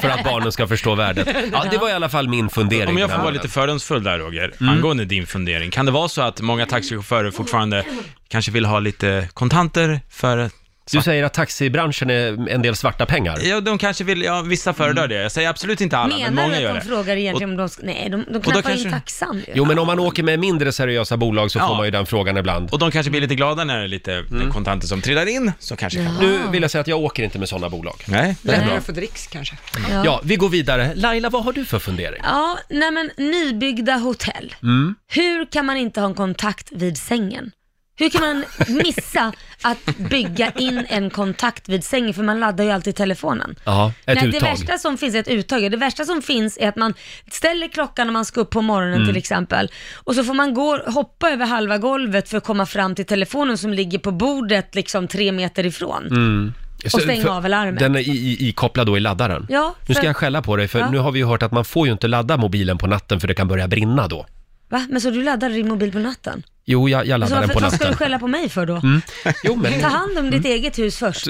A: för att barnen ska förstå värdet. Ja, det var i alla fall min fundering.
F: Om jag får
A: den här
F: vara
A: morgonen.
F: lite fördomsfull där Roger,
A: Mm.
F: angående din fundering. Kan det vara så att många taxichaufförer fortfarande kanske vill ha lite kontanter för...
A: Du säger att taxibranschen är en del svarta pengar?
F: Ja, de kanske vill, ja vissa föredrar det. Jag säger absolut inte alla, men
B: menar
F: många
B: du
F: gör
B: att de
F: det.
B: frågar egentligen om de ska, nej, de, de
F: då
B: knappar
F: kanske-
B: in taxan ju.
A: Jo, men om man åker med mindre seriösa bolag så får man ju den frågan ibland.
F: Och de kanske blir lite glada när det är lite kontanter som trillar in, så kanske kan
A: Nu vill jag säga att jag åker inte med sådana bolag.
F: Nej,
A: det är bra.
C: Lättare för dricks kanske.
B: Ja.
A: Ja, vi går vidare. Laila, vad har du för fundering?
B: Ja, nej men nybyggda hotell.
A: Mm.
B: Hur kan man inte ha en kontakt vid sängen? Hur kan man missa att bygga in en kontakt vid sängen? För man laddar ju alltid telefonen.
A: Ja, ett
B: Nej,
A: uttag.
B: Det värsta som finns är ett uttag. ja. Det värsta som finns är att man ställer klockan när man ska upp på morgonen
A: Mm.
B: till exempel och så får man gå, hoppa över halva golvet för att komma fram till telefonen som ligger på bordet liksom tre meter ifrån.
A: Mm.
B: Och
A: Så-
B: stänga
A: för-
B: av alarmet.
A: Den är i- i- ikopplad då i laddaren.
B: Ja,
A: Nu ska
B: för-
A: jag skälla på dig, för
B: Ja.
A: nu har vi ju hört att man får ju inte ladda mobilen på natten för det kan börja brinna då.
B: Va? Men så du laddar din mobil på natten?
A: Jo, jag, jag
B: Så
A: laddar den
B: varför
A: på
B: vad ska du
A: natten.
B: skälla på mig för då?
A: Mm. Jo, men...
B: Ta hand om ditt eget hus först.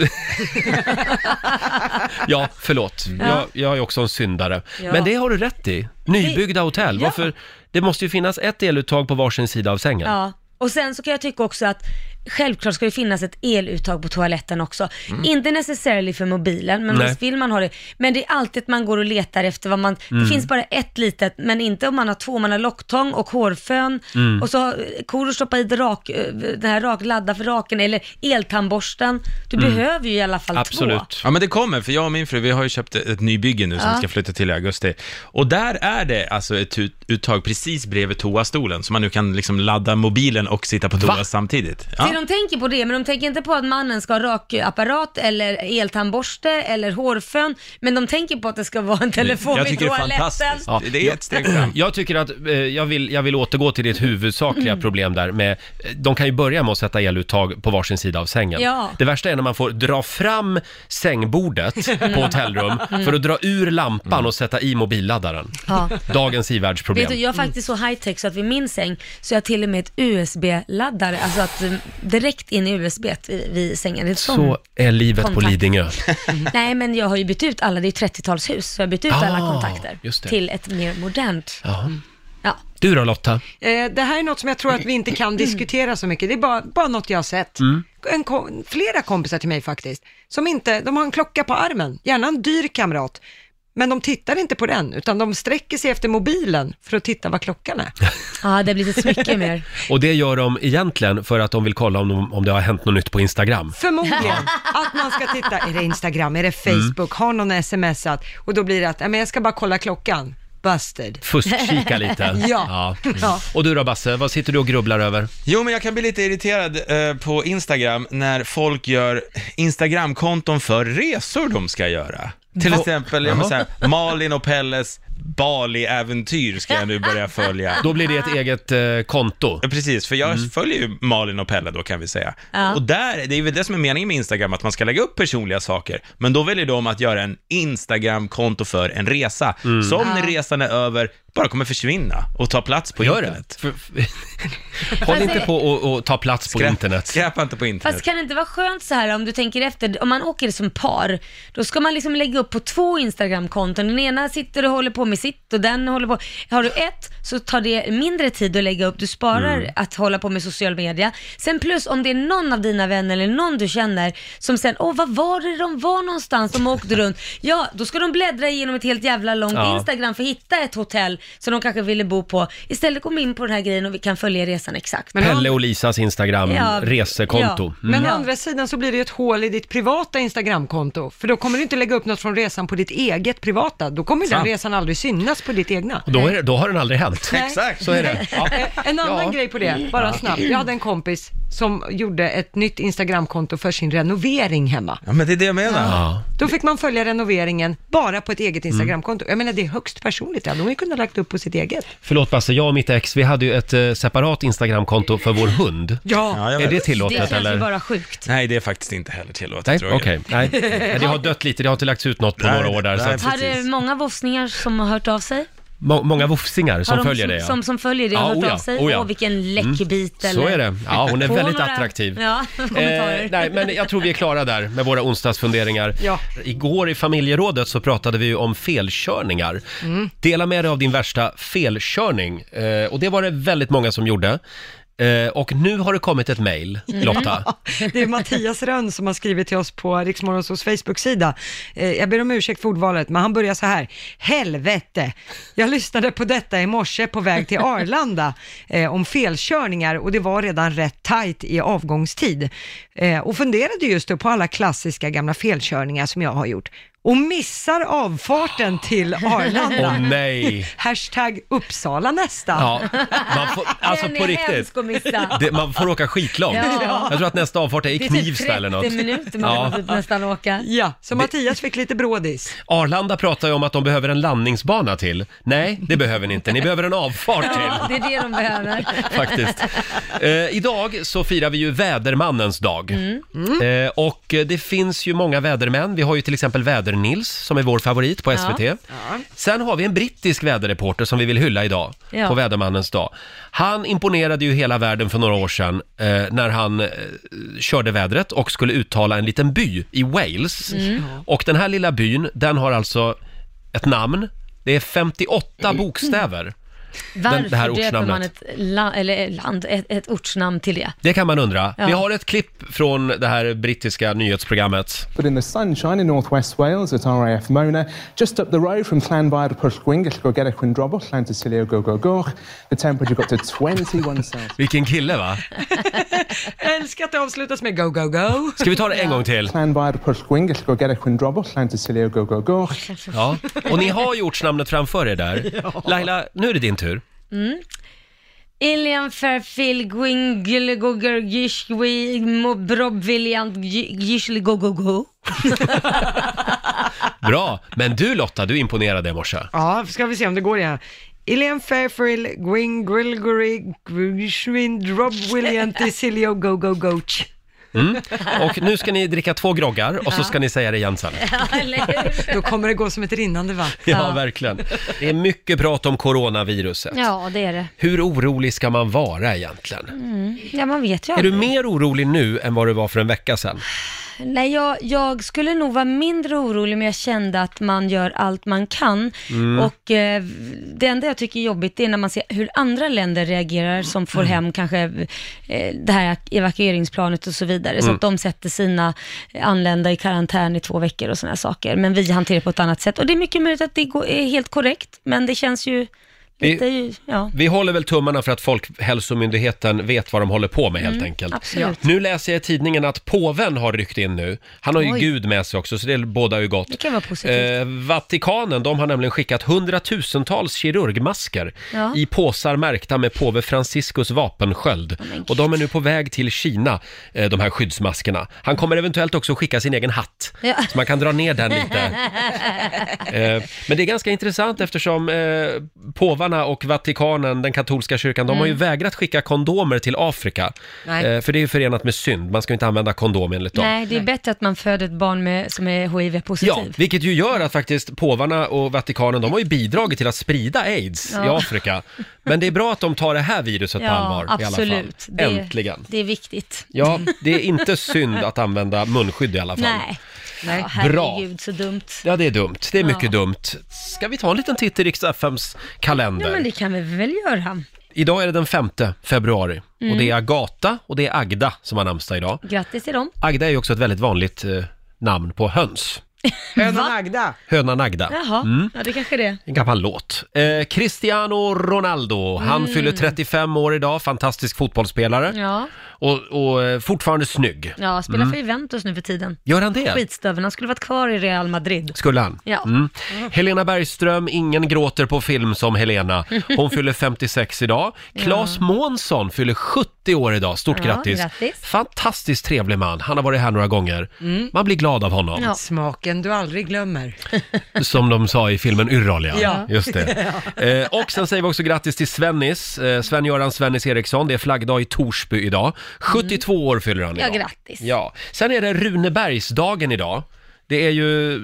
A: Ja, förlåt.
B: Ja.
A: Jag, jag är också en syndare.
B: Ja.
A: Men det har du rätt i. Nybyggda hotell.
B: Ja.
A: Varför? Det måste ju finnas ett eluttag på varsin sida av sängen.
B: Ja, och sen så kan jag tycka också att självklart ska det finnas ett eluttag på toaletten också.
A: Mm.
B: Inte necessarily för mobilen, men
A: Nej.
B: visst vill man ha det. Men det är alltid att man går och letar efter vad man,
A: Mm.
B: det finns bara ett litet, men inte om man har två, man har locktång och hårfön
A: Mm.
B: och så har eh, kor att stoppa i det rak, eh, den här rak, ladda för raken eller eltandborsten. Du
F: Mm.
B: behöver ju i alla fall två.
F: Ja, men det kommer, för jag och min fru, vi har ju köpt ett nybygge nu som
B: Ja.
F: vi ska flytta till i augusti. Och där är det alltså ett ut- uttag precis bredvid toastolen, så man nu kan liksom ladda mobilen och sitta på toa
A: Va?
F: samtidigt. Ja.
B: de tänker på det, men de tänker inte på att mannen ska ha rakapparat eller eltandborste eller hårfön, men de tänker på att det ska vara en telefon i toaletten.
F: Ja. Det är ett steg fram.
A: Jag tycker att, eh, jag vill, jag vill återgå till ditt huvudsakliga
B: Mm.
A: problem där med, eh, de kan ju börja med att sätta eluttag på varsin sida av sängen.
B: Ja.
A: Det värsta är när man får dra fram sängbordet på
B: Mm.
A: hotellrum
B: Mm.
A: för att dra ur lampan och sätta i mobilladdaren.
B: Ja.
A: Dagens
B: Vet
A: ivärldsproblem.
B: du, jag är faktiskt så high tech så att vid min säng så jag har till och med ett USB-laddare, alltså att eh, direkt in i USB t vid, vid sängen. Det är
A: Så är livet på Lidingö.
B: Nej, men jag har ju bytt ut alla, det är ju 30-talshus, så jag har bytt ut alla
A: Ah,
B: kontakter
A: just det.
B: till ett mer modernt. Mm.
A: Ja.
B: Ja.
A: Du då Lotta?
C: Eh, det här är något som jag tror att vi inte kan diskutera så mycket. Det är bara, bara något jag har sett. En kom, flera kompisar till mig faktiskt, som inte, de har en klocka på armen, gärna en dyr kamrat, men de tittar inte på den, utan de sträcker sig efter mobilen för att titta vad klockan är.
B: Ja, det blir så mycket mer.
A: Och det gör de egentligen för att de vill kolla om, de, om det har hänt något nytt på Instagram.
C: Förmodligen att man ska titta, är det Instagram, är det Facebook, har någon smsat? Och då blir det att, "Ja, men jag ska bara kolla klockan. Busted.
A: Fuskkika lite.
C: ja.
A: Mm.
C: ja.
A: Och du då Basse, vad sitter du och grubblar över?
F: Jo, men jag kan bli lite irriterad eh, på Instagram när folk gör Instagramkonton för resor de ska göra. Till
A: Va-
F: exempel, jag
A: Jaha.
F: menar så här, Malin och Pelles Bali-äventyr ska jag nu börja följa.
A: Då blir det ett eget eh, konto.
F: Ja, precis, för jag följer ju Malin och Pelle då kan vi säga.
A: Ja.
F: Och där, det är väl det som är meningen med Instagram, att man ska lägga upp personliga saker. Men då väljer de att göra en Instagram-konto för en resa,
A: Mm.
F: som när
B: Ja.
F: resan är över bara kommer försvinna och ta plats på
A: Gör det?
F: internet.
A: Håll inte på och, och ta plats på internet.
F: Skräpa inte på internet.
B: Fast kan det inte vara skönt så här om du tänker efter, om man åker som par, då ska man liksom lägga upp på två Instagram-konton. Den ena sitter och håller på med sitt och den håller på. Har du ett så tar det mindre tid att lägga upp, du sparar
N: Mm.
B: att hålla på med social media. Sen plus om det är någon av dina vänner eller någon du känner som sen, åh vad var det de var någonstans, de åkte runt. Ja, då ska de bläddra igenom ett helt jävla långt
N: Ja.
B: Instagram för att hitta ett hotell som de kanske ville bo på. Istället går de in på den här grejen och vi kan följa resan exakt.
A: Pelle och Lisas Instagram,
B: Ja.
A: resekonto.
B: Ja.
A: Mm.
C: Men å andra sidan så blir det ju ett hål i ditt privata Instagramkonto, för då kommer du inte lägga upp något från resan på ditt eget privata. Då kommer ju den
A: Sant.
C: resan aldrig synas på ditt egna.
A: Och Då, är, det- då har den aldrig hänt.
C: Nej.
A: Så är det. Ja.
C: Eh, En annan
A: Ja.
C: grej på det, bara
A: Ja.
C: snabbt. Jag hade en kompis som gjorde ett nytt Instagramkonto för sin renovering hemma.
F: Ja, men det är det jag menar.
C: Då fick man följa renoveringen bara på ett eget Instagramkonto. Jag menar det är högst personligt, det hade hon ju kunnat lagt upp på sitt eget.
A: Förlåt Basse, jag och mitt ex, vi hade ju ett eh, separat Instagramkonto för vår hund.
C: Ja.
F: Ja, jag
A: är
F: vet.
A: det tillåtet
B: det känns
A: eller?
B: ju bara sjukt.
F: Nej, det är faktiskt inte heller tillåtet
A: Nej,
F: tror jag.
A: okej. Nej. Nej, Det har dött lite, det har inte lagts ut något på
F: Nej,
A: några år där.
F: nej,
A: Så att,
B: Har det många våfsningar som har hört av sig?
A: Må, många vofsingar som
B: har de
A: följer
B: som,
A: det ja. Ah,
B: Som, som följer det har hört
A: oja,
B: av sig?
A: oja.
B: Åh, vilken läckbit
A: Mm,
B: eller?
A: Så är det. Ja, hon är
B: På
A: väldigt
B: några-
A: attraktiv.
B: Ja, kommentarer.
A: Eh, nej, men jag tror vi är klara där med våra onsdagsfunderingar.
B: Ja.
A: Igår i familjerådet så pratade vi ju om felkörningar.
B: Mm.
A: Dela med dig av din värsta felkörning. Eh, och det var det väldigt många som gjorde. Eh, och nu har det kommit ett mejl,
B: Mm.
A: Lotta.
C: Ja, det är Mattias Rönn som har skrivit till oss på Riksmorgonsols Facebook-sida. Eh, Jag ber om ursäkt för ordvalet, men han börjar så här. Helvete! Jag lyssnade på detta i morse på väg till Arlanda eh, om felkörningar och det var redan rätt tajt i avgångstid. Eh, och funderade just då på alla klassiska gamla felkörningar som jag har gjort och missar avfarten till Arlanda.
A: Åh, nej.
C: Hashtag Uppsala nästa.
A: Ja, man får, alltså
B: Den
A: på
B: är
A: riktigt.
B: hemsk att missa.
A: Det, man får åka skitlångt.
B: Ja.
A: Jag tror att nästa avfart är i
B: Det är
A: Knivsta eller något.
B: typ 30 minuter man
A: Ja.
B: kan typ nästan åka.
C: Ja, så Mattias fick lite brådis.
A: Arlanda pratar ju om att de behöver en landningsbana till. Nej, det behöver ni inte. Ni behöver en avfart
B: Ja,
A: till.
B: det är det de behöver.
A: Faktiskt. Eh, idag så firar vi ju vädermannens dag.
O: Mm.
A: Eh, och eh, det finns ju många vädermän. Vi har ju till exempel Väder-Nils som är vår favorit på
O: Ja.
A: SVT. Sen har vi en brittisk väderreporter som vi vill hylla idag
O: Ja.
A: på vädermannens dag. Han imponerade ju hela världen för några år sedan eh, när han eh, körde vädret och skulle uttala en liten by i Wales.
O: Mm.
A: Och den här lilla byn, den har alltså ett namn. Det är 58 bokstäver.
B: Varför
A: Den- det här
B: döper man
A: ortsnamnet.
B: ett, la, eller eh, land, ett, ett ortsnamn till det?
A: Det kan man undra.
B: Ja.
A: Vi har ett klipp från det här brittiska nyhetsprogrammet.
E: But in the sunshine in northwest Wales at RAF Mona, just up the road from Llanfair to Pwllgwyngyll Gogerequindrobwll, Llantysilio Gogogoch, the temperature got to 21 Celsius.
A: Vilken kille va?
C: Jag älskar att det avslutas med go, go, go.
A: Ska vi ta det en gång till?
E: Llanfair to Pwllgwyngyll Gogerequindrobwll, Llantysilio Gogogoch.
A: Ja. Och ni har ju ortsnamnet framför er där.
B: Ja.
A: Laila, nu är det din tur.
B: Mm. Ilian Fairfield Gwinglegogorgishwi Mobrob William Gishligogogo.
A: Bra, men du Lotta, du imponerade i morse.
C: Ja, ska vi se om det går igen. Ilian Fairfield, Gwyn Grilgory, Gwishwin, Rob William, Tisilio, Go Go Goach.
A: Mm. Och nu ska ni dricka två groggar och så ska ni säga det igen sen.
C: Då kommer det gå som ett rinnande vatten.
A: Ja, verkligen. Det är mycket prat om coronaviruset.
B: Ja, det är det.
A: Hur orolig ska man vara egentligen?
B: Mm. Ja, man vet ju
A: Är du
B: aldrig.
A: mer orolig nu än vad du var för en vecka sedan?
B: Nej, jag, jag skulle nog vara mindre orolig, men jag kände att man gör allt man kan.
A: Mm.
B: Och eh, det enda jag tycker är jobbigt, det är när man ser hur andra länder reagerar, som får hem kanske eh, det här evakueringsplanet och så vidare. Så
N: Mm.
B: att de sätter sina anlända i karantän i två veckor och sådana saker. Men vi hanterar det på ett annat sätt. Och det är mycket möjligt att det går- är helt korrekt, men det känns ju lite, ju- ja.
A: Vi håller väl tummarna för att Folkhälsomyndigheten vet vad de håller på med helt
B: Mm,
A: enkelt.
B: absolut.
A: Nu läser jag i tidningen att påven har ryckt in nu. Han har ju
B: Oj.
A: Gud med sig också, så det båda ju gott.
B: Det kan vara positivt.
A: Eh, Vatikanen, de har nämligen skickat hundratusentals kirurgmasker
B: Ja.
A: i påsar märkta med påve Franciscus vapensköld. och de är nu på väg till Kina, eh, de här skyddsmaskerna. Han kommer eventuellt också skicka sin egen hatt,
B: Ja.
A: så man kan dra ner den lite. Eh, Men det är ganska intressant eftersom eh, påvarna och Vatikanen, den katolska kyrkan, de har ju
B: Mm.
A: vägrat skicka kondomer till Afrika.
B: Nej.
A: Eh, för det är ju förenat med synd, man ska ju inte använda kondom enligt dem.
B: Nej, det är bättre att man föder ett barn med, som är HIV-positiv.
A: Ja, vilket ju gör att faktiskt påvarna och Vatikanen, de har ju bidragit till att sprida aids i
B: Ja.
A: Afrika. Men det är bra att de tar det här viruset på allvar i alla fall.
B: absolut. Det,
A: Äntligen.
B: Det är viktigt.
A: Ja, det är inte synd att använda munskydd i alla fall.
B: Nej. Nej. Ja,
A: Bra.
B: herregud, så dumt.
A: Ja, det är dumt. Det är
B: Ja.
A: mycket dumt. Ska vi ta en liten titt i riks FMs kalender?
B: Ja, men det kan vi väl göra.
A: Idag är det den 5 februari och
B: Mm.
A: det är Agata och det är Agda som har namnsdag idag.
B: Grattis till dem.
A: Agda är ju också ett väldigt vanligt eh, namn på höns.
C: Hönan Agda.
A: Hönan Agda.
B: Jaha,
A: Mm.
B: ja, det kanske är det.
A: En gammal låt. Eh, Cristiano Ronaldo, han
B: Mm.
A: fyller 35 år idag, fantastisk fotbollsspelare.
B: Ja,
A: Och, och eh, fortfarande snygg.
B: ja spelar
A: Mm.
B: för Juventus nu för tiden.
A: Gör han det?
B: Skitstöveln, han skulle varit kvar i Real Madrid.
A: Skulle han?
B: Ja.
A: Mm. Helena Bergström, ingen gråter på film som Helena. Hon fyller 56 idag. Claes Månsson fyller 70 år idag. Stort
B: Ja,
A: grattis.
B: grattis. Mm.
A: Fantastiskt trevlig man. Han har varit här några gånger. Man blir glad av honom.
C: Smaken du aldrig glömmer.
A: Som de sa i filmen Yrrol, ja.
C: Ja.
A: Just det. Eh, och sen säger vi också grattis till Svennis, eh, Sven-Göran Svennis Eriksson. Det är flaggdag i Torsby idag. 72 år fyller han
B: Ja,
A: idag.
B: grattis.
A: Ja. Sen är det Runebergsdagen idag. Det är ju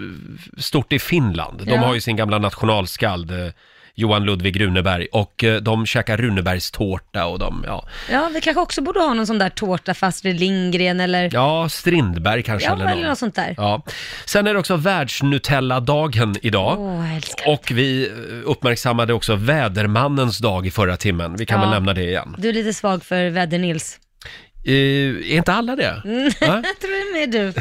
A: stort i Finland. De
B: Ja.
A: har ju sin gamla nationalskald eh, Johan Ludvig Runeberg och eh, de käkar Runebergstårta och de, ja.
B: Ja, vi kanske också borde ha någon sån där tårta för Astrid Lindgren eller...
A: Ja, Strindberg kanske
B: Ja,
A: eller någon.
B: eller något sånt där.
A: Ja. Sen är det också världsnutella-dagen idag.
B: Åh, jag älskar
A: Och vi eh, uppmärksammade också vädermannens dag i förra timmen. Vi kan
B: Ja.
A: väl nämna det igen.
B: Du är lite svag för Väder-Nils.
A: Eh, är inte alla det?
B: Mm.
A: Va?
B: Jag tror det är du.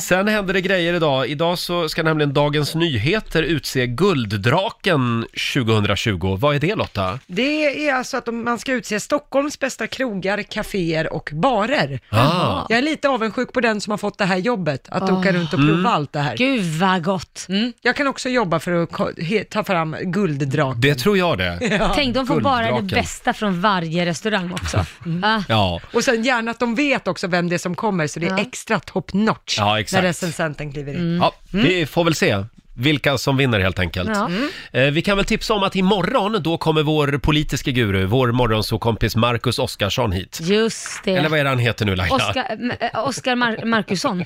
A: Sen händer det grejer idag. Idag så ska nämligen Dagens Nyheter utse Gulddraken 2020. Vad är det Lotta?
C: Det är alltså att de- man ska utse Stockholms bästa krogar, kaféer och barer.
A: Ah.
C: Jag är lite avundsjuk på den som har fått det här jobbet, att
B: Ah.
C: åka runt och prova
A: Mm.
C: allt det här.
B: Gud vad gott!
C: Mm. Jag kan också jobba för att ko- he- ta fram gulddraken.
A: Det tror jag det.
B: Tänk, de får bara det
A: Gulddraken.
B: bästa från varje restaurang också. Ah.
A: Ja.
C: Och sen gärna att de vet också vem det är som kommer, så det är extra top notch
A: Ja, exakt.
C: när recensenten kliver in.
A: Ja,
B: Mm.
A: vi får väl se vilka som vinner helt enkelt.
C: Ja. Mm.
A: Eh, Vi kan väl tipsa om att imorgon då kommer vår politiska guru, vår morgonsåkompis Marcus Oskarsson hit.
B: Just det.
A: Eller vad är det han heter nu Laila?
B: Oskar, m- eh, Oskar Mar- Markusson.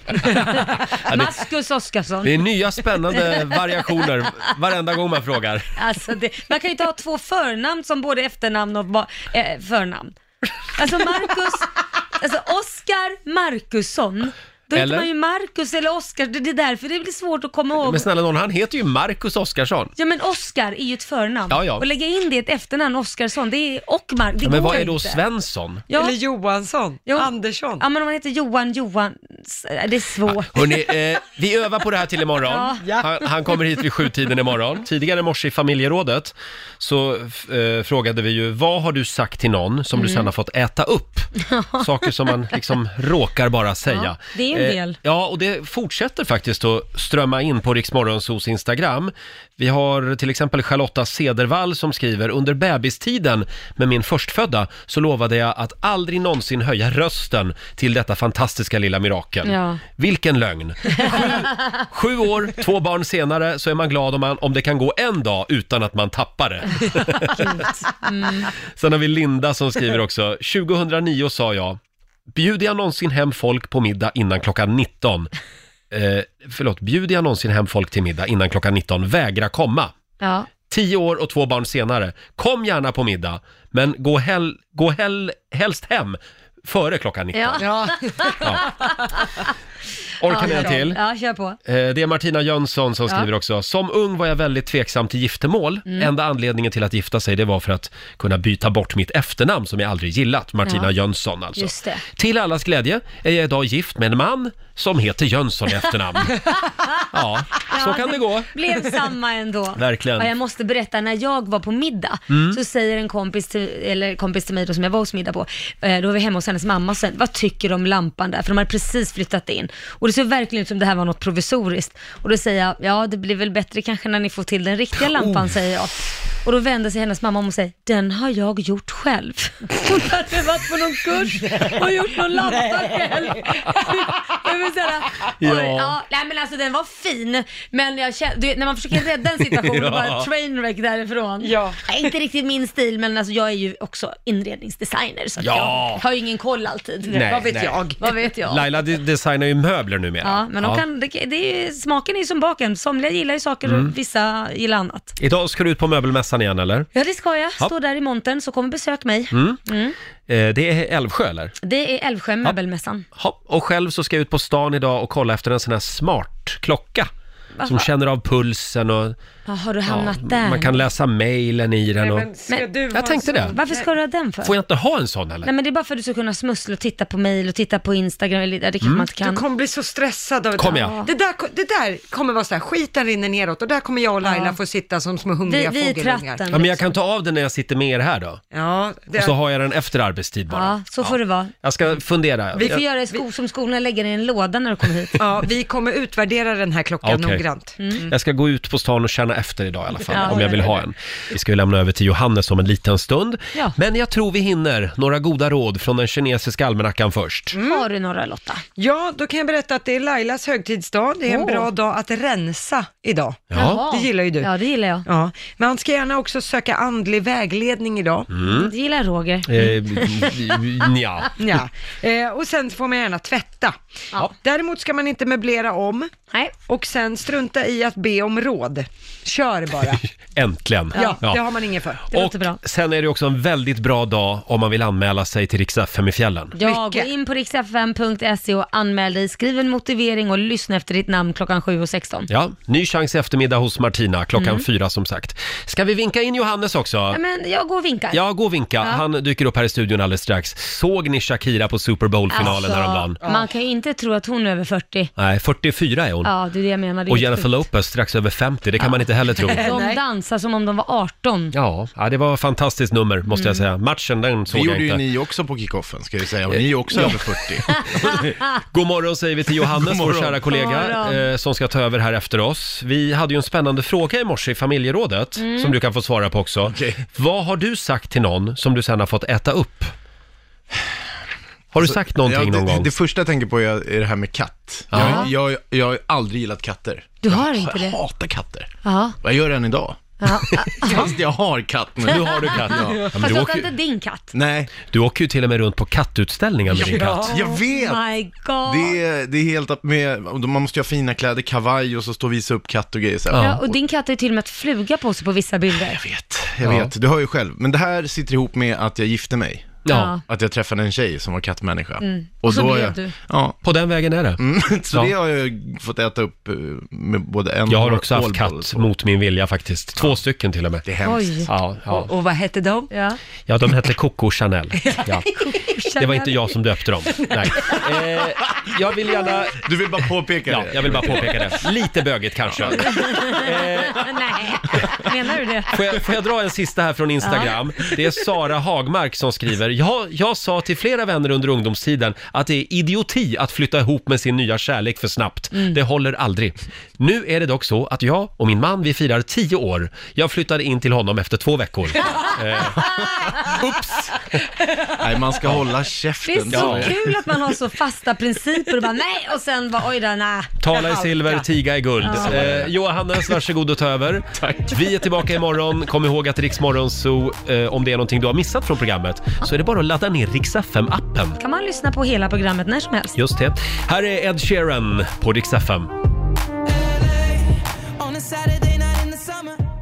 B: Maskus Oskarsson.
A: Det är nya spännande variationer varenda gång man frågar.
B: Alltså det, man kan ju inte ha två förnamn som både efternamn och ba, eh, förnamn. Alltså Marcus, alltså Oskar Markusson. Då heter
A: Eller?
B: man ju Marcus eller Oskar, det det är därför det blir svårt att komma ihåg.
A: Men snälla nån, han heter ju Marcus Oskarsson.
B: Ja men Oskar är ju ett förnamn.
A: Ja, ja.
B: Och lägga in det i ett efternamn, Oskarsson, det är och Mark, det
A: Ja, men
B: går
A: vad
B: ju
A: är då
B: inte.
A: Svensson?
B: Ja.
C: Eller Johansson, Andersson.
B: Ja men om man heter Johan Johan s- det är svårt.
A: Hörrni, eh, vi övar på det här till imorgon.
B: Ja.
A: Han, han kommer hit vid sjutiden imorgon. Tidigare i morse i familjerådet så f- eh, frågade vi ju, vad har du sagt till någon som du
B: Mm.
A: sen har fått äta upp? Saker som man liksom råkar bara säga. Eh,
B: Ja, det är en del.
A: ja, och det fortsätter faktiskt att strömma in på Riksmorgonsos Instagram. Vi har till exempel Charlotta Cedervall som skriver, under bebistiden med min förstfödda så lovade jag att aldrig någonsin höja rösten till detta fantastiska lilla mirakel.
B: Ja.
A: Vilken lögn! Sju år, två barn senare så är man glad om, man, om det kan gå en dag utan att man tappar det.
B: Mm.
A: Sen har vi Linda som skriver också, 2009 sa jag, bjuder jag någonsin hem folk på middag innan klockan 19? Eh, förlåt, bjuder jag någonsin hem folk till middag innan klockan 19? Vägra komma.
B: Ja.
A: Tio år och två barn senare, kom gärna på middag, men gå, hell, gå hell, helst hem före klockan 19.
B: Ja. ja.
A: Orkar ni en
B: kör.
A: till?
B: Ja, kör på.
A: Eh, Det är Martina Jönsson som
B: Ja.
A: skriver också. Som ung var jag väldigt tveksam till giftermål.
B: Mm.
A: Enda anledningen till att gifta sig det var för att kunna byta bort mitt efternamn som jag aldrig gillat. Martina
B: Ja.
A: Jönsson alltså.
B: Just det.
A: Till allas glädje är jag idag gift med en man som heter Jönsson i efternamn. ja, så
B: Ja,
A: kan det gå.
B: Blev samma ändå.
A: Verkligen.
B: Ja, jag måste berätta, när jag var på middag
A: Mm.
B: så säger en kompis till, eller kompis till mig då, som jag var hos middag på, eh, då var vi hemma hos hennes mamma och sen, vad tycker du om lampan där? För de hade precis flyttat in. Och det ser verkligen ut som det här var något provisoriskt. Och då säger jag, ja det blir väl bättre kanske när ni får till den riktiga lampan, säger jag. Och då vänder sig hennes mamma om och säger, den har jag gjort själv. Hon hade varit på någon kurs och gjort någon lampa
N: Nej.
B: själv. Jag vill säga,
N: Ja.
B: oj, ja, nej men alltså den var fin, men jag kände, du vet, när man försöker rädda en situation
N: Ja.
B: och bara trainwreck därifrån. Ja. inte riktigt min stil, men alltså jag är ju också inredningsdesigner så att
A: Ja.
B: jag har ju ingen koll alltid.
A: Nej, Vad vet nej. jag?
B: Vad vet jag?
A: Laila de- designar ju möbler numera.
B: Ja, men de Kan, det, det är, ju- smaken är ju som baken. Somliga gillar ju saker
A: Mm.
B: och vissa gillar annat.
A: Idag ska du ut på möbelmässan igen eller?
B: Ja, det ska jag.
A: Ja.
B: Stå där i montern så kommer besök mig.
A: Mm.
B: Mm.
A: Eh, Det är Älvsjö eller?
B: Det är Älvsjö möbelmässan.
A: Ja, och själv så ska jag ut på stan idag och kolla efter en sån här smart klocka. Som
B: Jaha.
A: känner av pulsen och
B: Ja, har du hamnat där?
A: man kan läsa mejlen i den. Och...
B: Men-
A: jag tänkte det.
B: Varför ska du ha den för?
A: Får jag inte ha en sån eller?
B: Nej men det är bara för att du ska kunna smussla och titta på mail och titta på Instagram, eller ja, det kanske
A: Mm.
B: man inte kan.
A: Du
B: kommer
C: bli så stressad av det
A: Kommer
C: där.
A: jag?
C: Det där, ko- det där kommer vara så här, skiten rinner neråt och där kommer jag och Laila få sitta som små hungriga
B: Vi- vi i
C: fågelungar.
A: Ja, men jag kan ta av den när jag sitter med er här då.
C: Ja, det-
A: Och så har jag den efter arbetstid bara.
B: Ja, så får det vara.
A: Jag ska fundera.
B: Vi får
A: Jag-
B: göra det sko- som skolorna lägger i en låda när du kommer hit.
C: Ja, vi kommer utvärdera den här klockan
A: Okej.
B: Mm.
A: Jag ska gå ut på stan och känna efter idag i alla fall,
B: Ja,
A: om jag vill ha en. Vi ska ju lämna över till Johannes om en liten stund.
B: Ja.
A: Men jag tror vi hinner några goda råd från den kinesiska almanackan först.
B: Har du några Lotta?
C: Ja, då kan jag berätta att det är Lailas högtidsdag. Det är en
B: Åh.
C: bra dag att rensa idag.
B: Jaha.
C: Det gillar ju du.
B: Ja, det gillar jag.
C: Ja. Men han ska gärna också söka andlig vägledning idag.
A: Mm.
B: Det gillar Roger. Mm.
A: Eh, nja.
C: Ja. Eh, och sen får man gärna tvätta. Däremot ska man inte möblera om. Och sen strunta i att be om råd. Kör bara.
A: Äntligen.
C: ja, det har man ingen för.
A: och sen är det också en väldigt bra dag om man vill anmäla sig till Rix FM i fjällen.
B: Ja, gå in på riksfm.se och anmäl dig, skriv en motivering och lyssna efter ditt namn klockan 7.16.
A: Ja, ny chans i eftermiddag hos Martina klockan
B: Mm.
A: fyra som sagt. Ska vi vinka in Johannes också?
B: Ja, men jag går och vinkar.
A: Ja, gå och vinka.
B: Ja.
A: Han dyker upp här i studion alldeles strax. Såg ni Shakira på Super Bowl-finalen
B: Alltså,
A: häromdagen?
B: Man kan ju inte tro att hon är över 40.
A: Nej, 44 är hon.
B: Ja, det är det jag menar. Det är
A: Och
B: helt
A: Jennifer
B: sjukt.
A: Lopez strax över 50, det kan man inte heller tro.
B: De dansar som om de var 18.
A: Ja, ja, det var ett fantastiskt nummer måste jag
B: Mm.
A: säga. Matchen, den
O: Det
A: såg jag
O: gjorde ju
A: inte.
O: ni också på kickoffen, ska vi säga. Och ni är också
A: Ja.
O: över 40.
A: God morgon säger vi till Johannes,
O: God
A: vår
O: morgon.
A: kära
O: God
A: kollega,
O: morgon.
A: eh, som ska ta över här efter oss. Vi hade ju en spännande fråga i morse i familjerådet,
B: Mm.
A: som du kan få svara på också. Vad har du sagt till någon som du sen har fått äta upp? Har du
O: Alltså,
A: sagt någonting
O: ja, det,
A: någon gång?
O: Det första jag tänker på är, är det här med katt.
A: Ja.
O: Jag, jag, jag har aldrig gillat katter.
B: Du har inte det?
O: Jag hatar katter.
B: Ja.
O: Och Jag gör det än idag.
B: ja.
O: Fast jag har katt nu.
B: Nu har du katt.
O: Ja.
B: Fast det var inte din katt.
O: Nej.
A: Du åker ju till och med runt på kattutställningar med din katt.
O: Jag vet!
B: Oh my god.
O: Det är, Eh, det är helt att med, och då- man måste ju ha fina kläder, kavaj och så stå och visa upp katt och grejer så här.
B: Ja, och din katt har ju till och med ett fluga på sig på vissa bilder. Jag
O: vet. Jag vet, du hör ju själv. Men det här sitter ihop med att jag gifte mig.
B: Ja.
O: Att jag träffade en tjej som var kattmänniska.
B: Mm. Och så blev
O: jag,
B: du.
O: Ja.
A: På den vägen är det.
O: så
A: Ja.
O: det har jag ju fått äta upp eh, med både en
A: Jag har
O: och en
A: också haft
O: ålboll
A: katt
O: på.
A: mot min vilja faktiskt. Två stycken till och med. Det är
B: hemskt. Oj.
A: Ja, ja.
B: Och, och vad hette de? Ja.
A: ja, de hette Coco Chanel. Ja. Det var inte jag som döpte dem. Nej. Eh, jag vill gärna...
O: Du vill bara påpeka
A: Ja,
O: det?
A: jag vill bara påpeka det. Lite bögigt kanske.
B: Nej, menar du det?
A: Får jag, får jag dra en sista här från Instagram? Det är Sara Hagmark som skriver. Jag, jag sa till flera vänner under ungdomstiden att det är idioti att flytta ihop med sin nya kärlek för snabbt.
N: Mm.
A: Det håller aldrig. Nu är det dock så att jag och min man, vi firar tio år. Jag flyttade in till honom efter två veckor. Eh, Ups!
O: Nej, man ska
A: Ja.
O: hålla
B: Det är
O: käften.
B: så kul att man har så fasta principer och bara nej och sen bara oj då, nej.
A: Tala
B: Jag
A: i
B: halkar.
A: silver, tiga i guld.
B: Ja.
A: Eh, Johannes, varsågod och ta över. Vi är tillbaka imorgon. Kom ihåg att Rix Morgon Zoo, eh, om det är någonting du har missat från programmet, så är det bara att ladda ner Rix FM-appen.
B: Kan man lyssna på hela programmet när som helst?
A: Just det. Här är Ed Sheeran på Rix FM.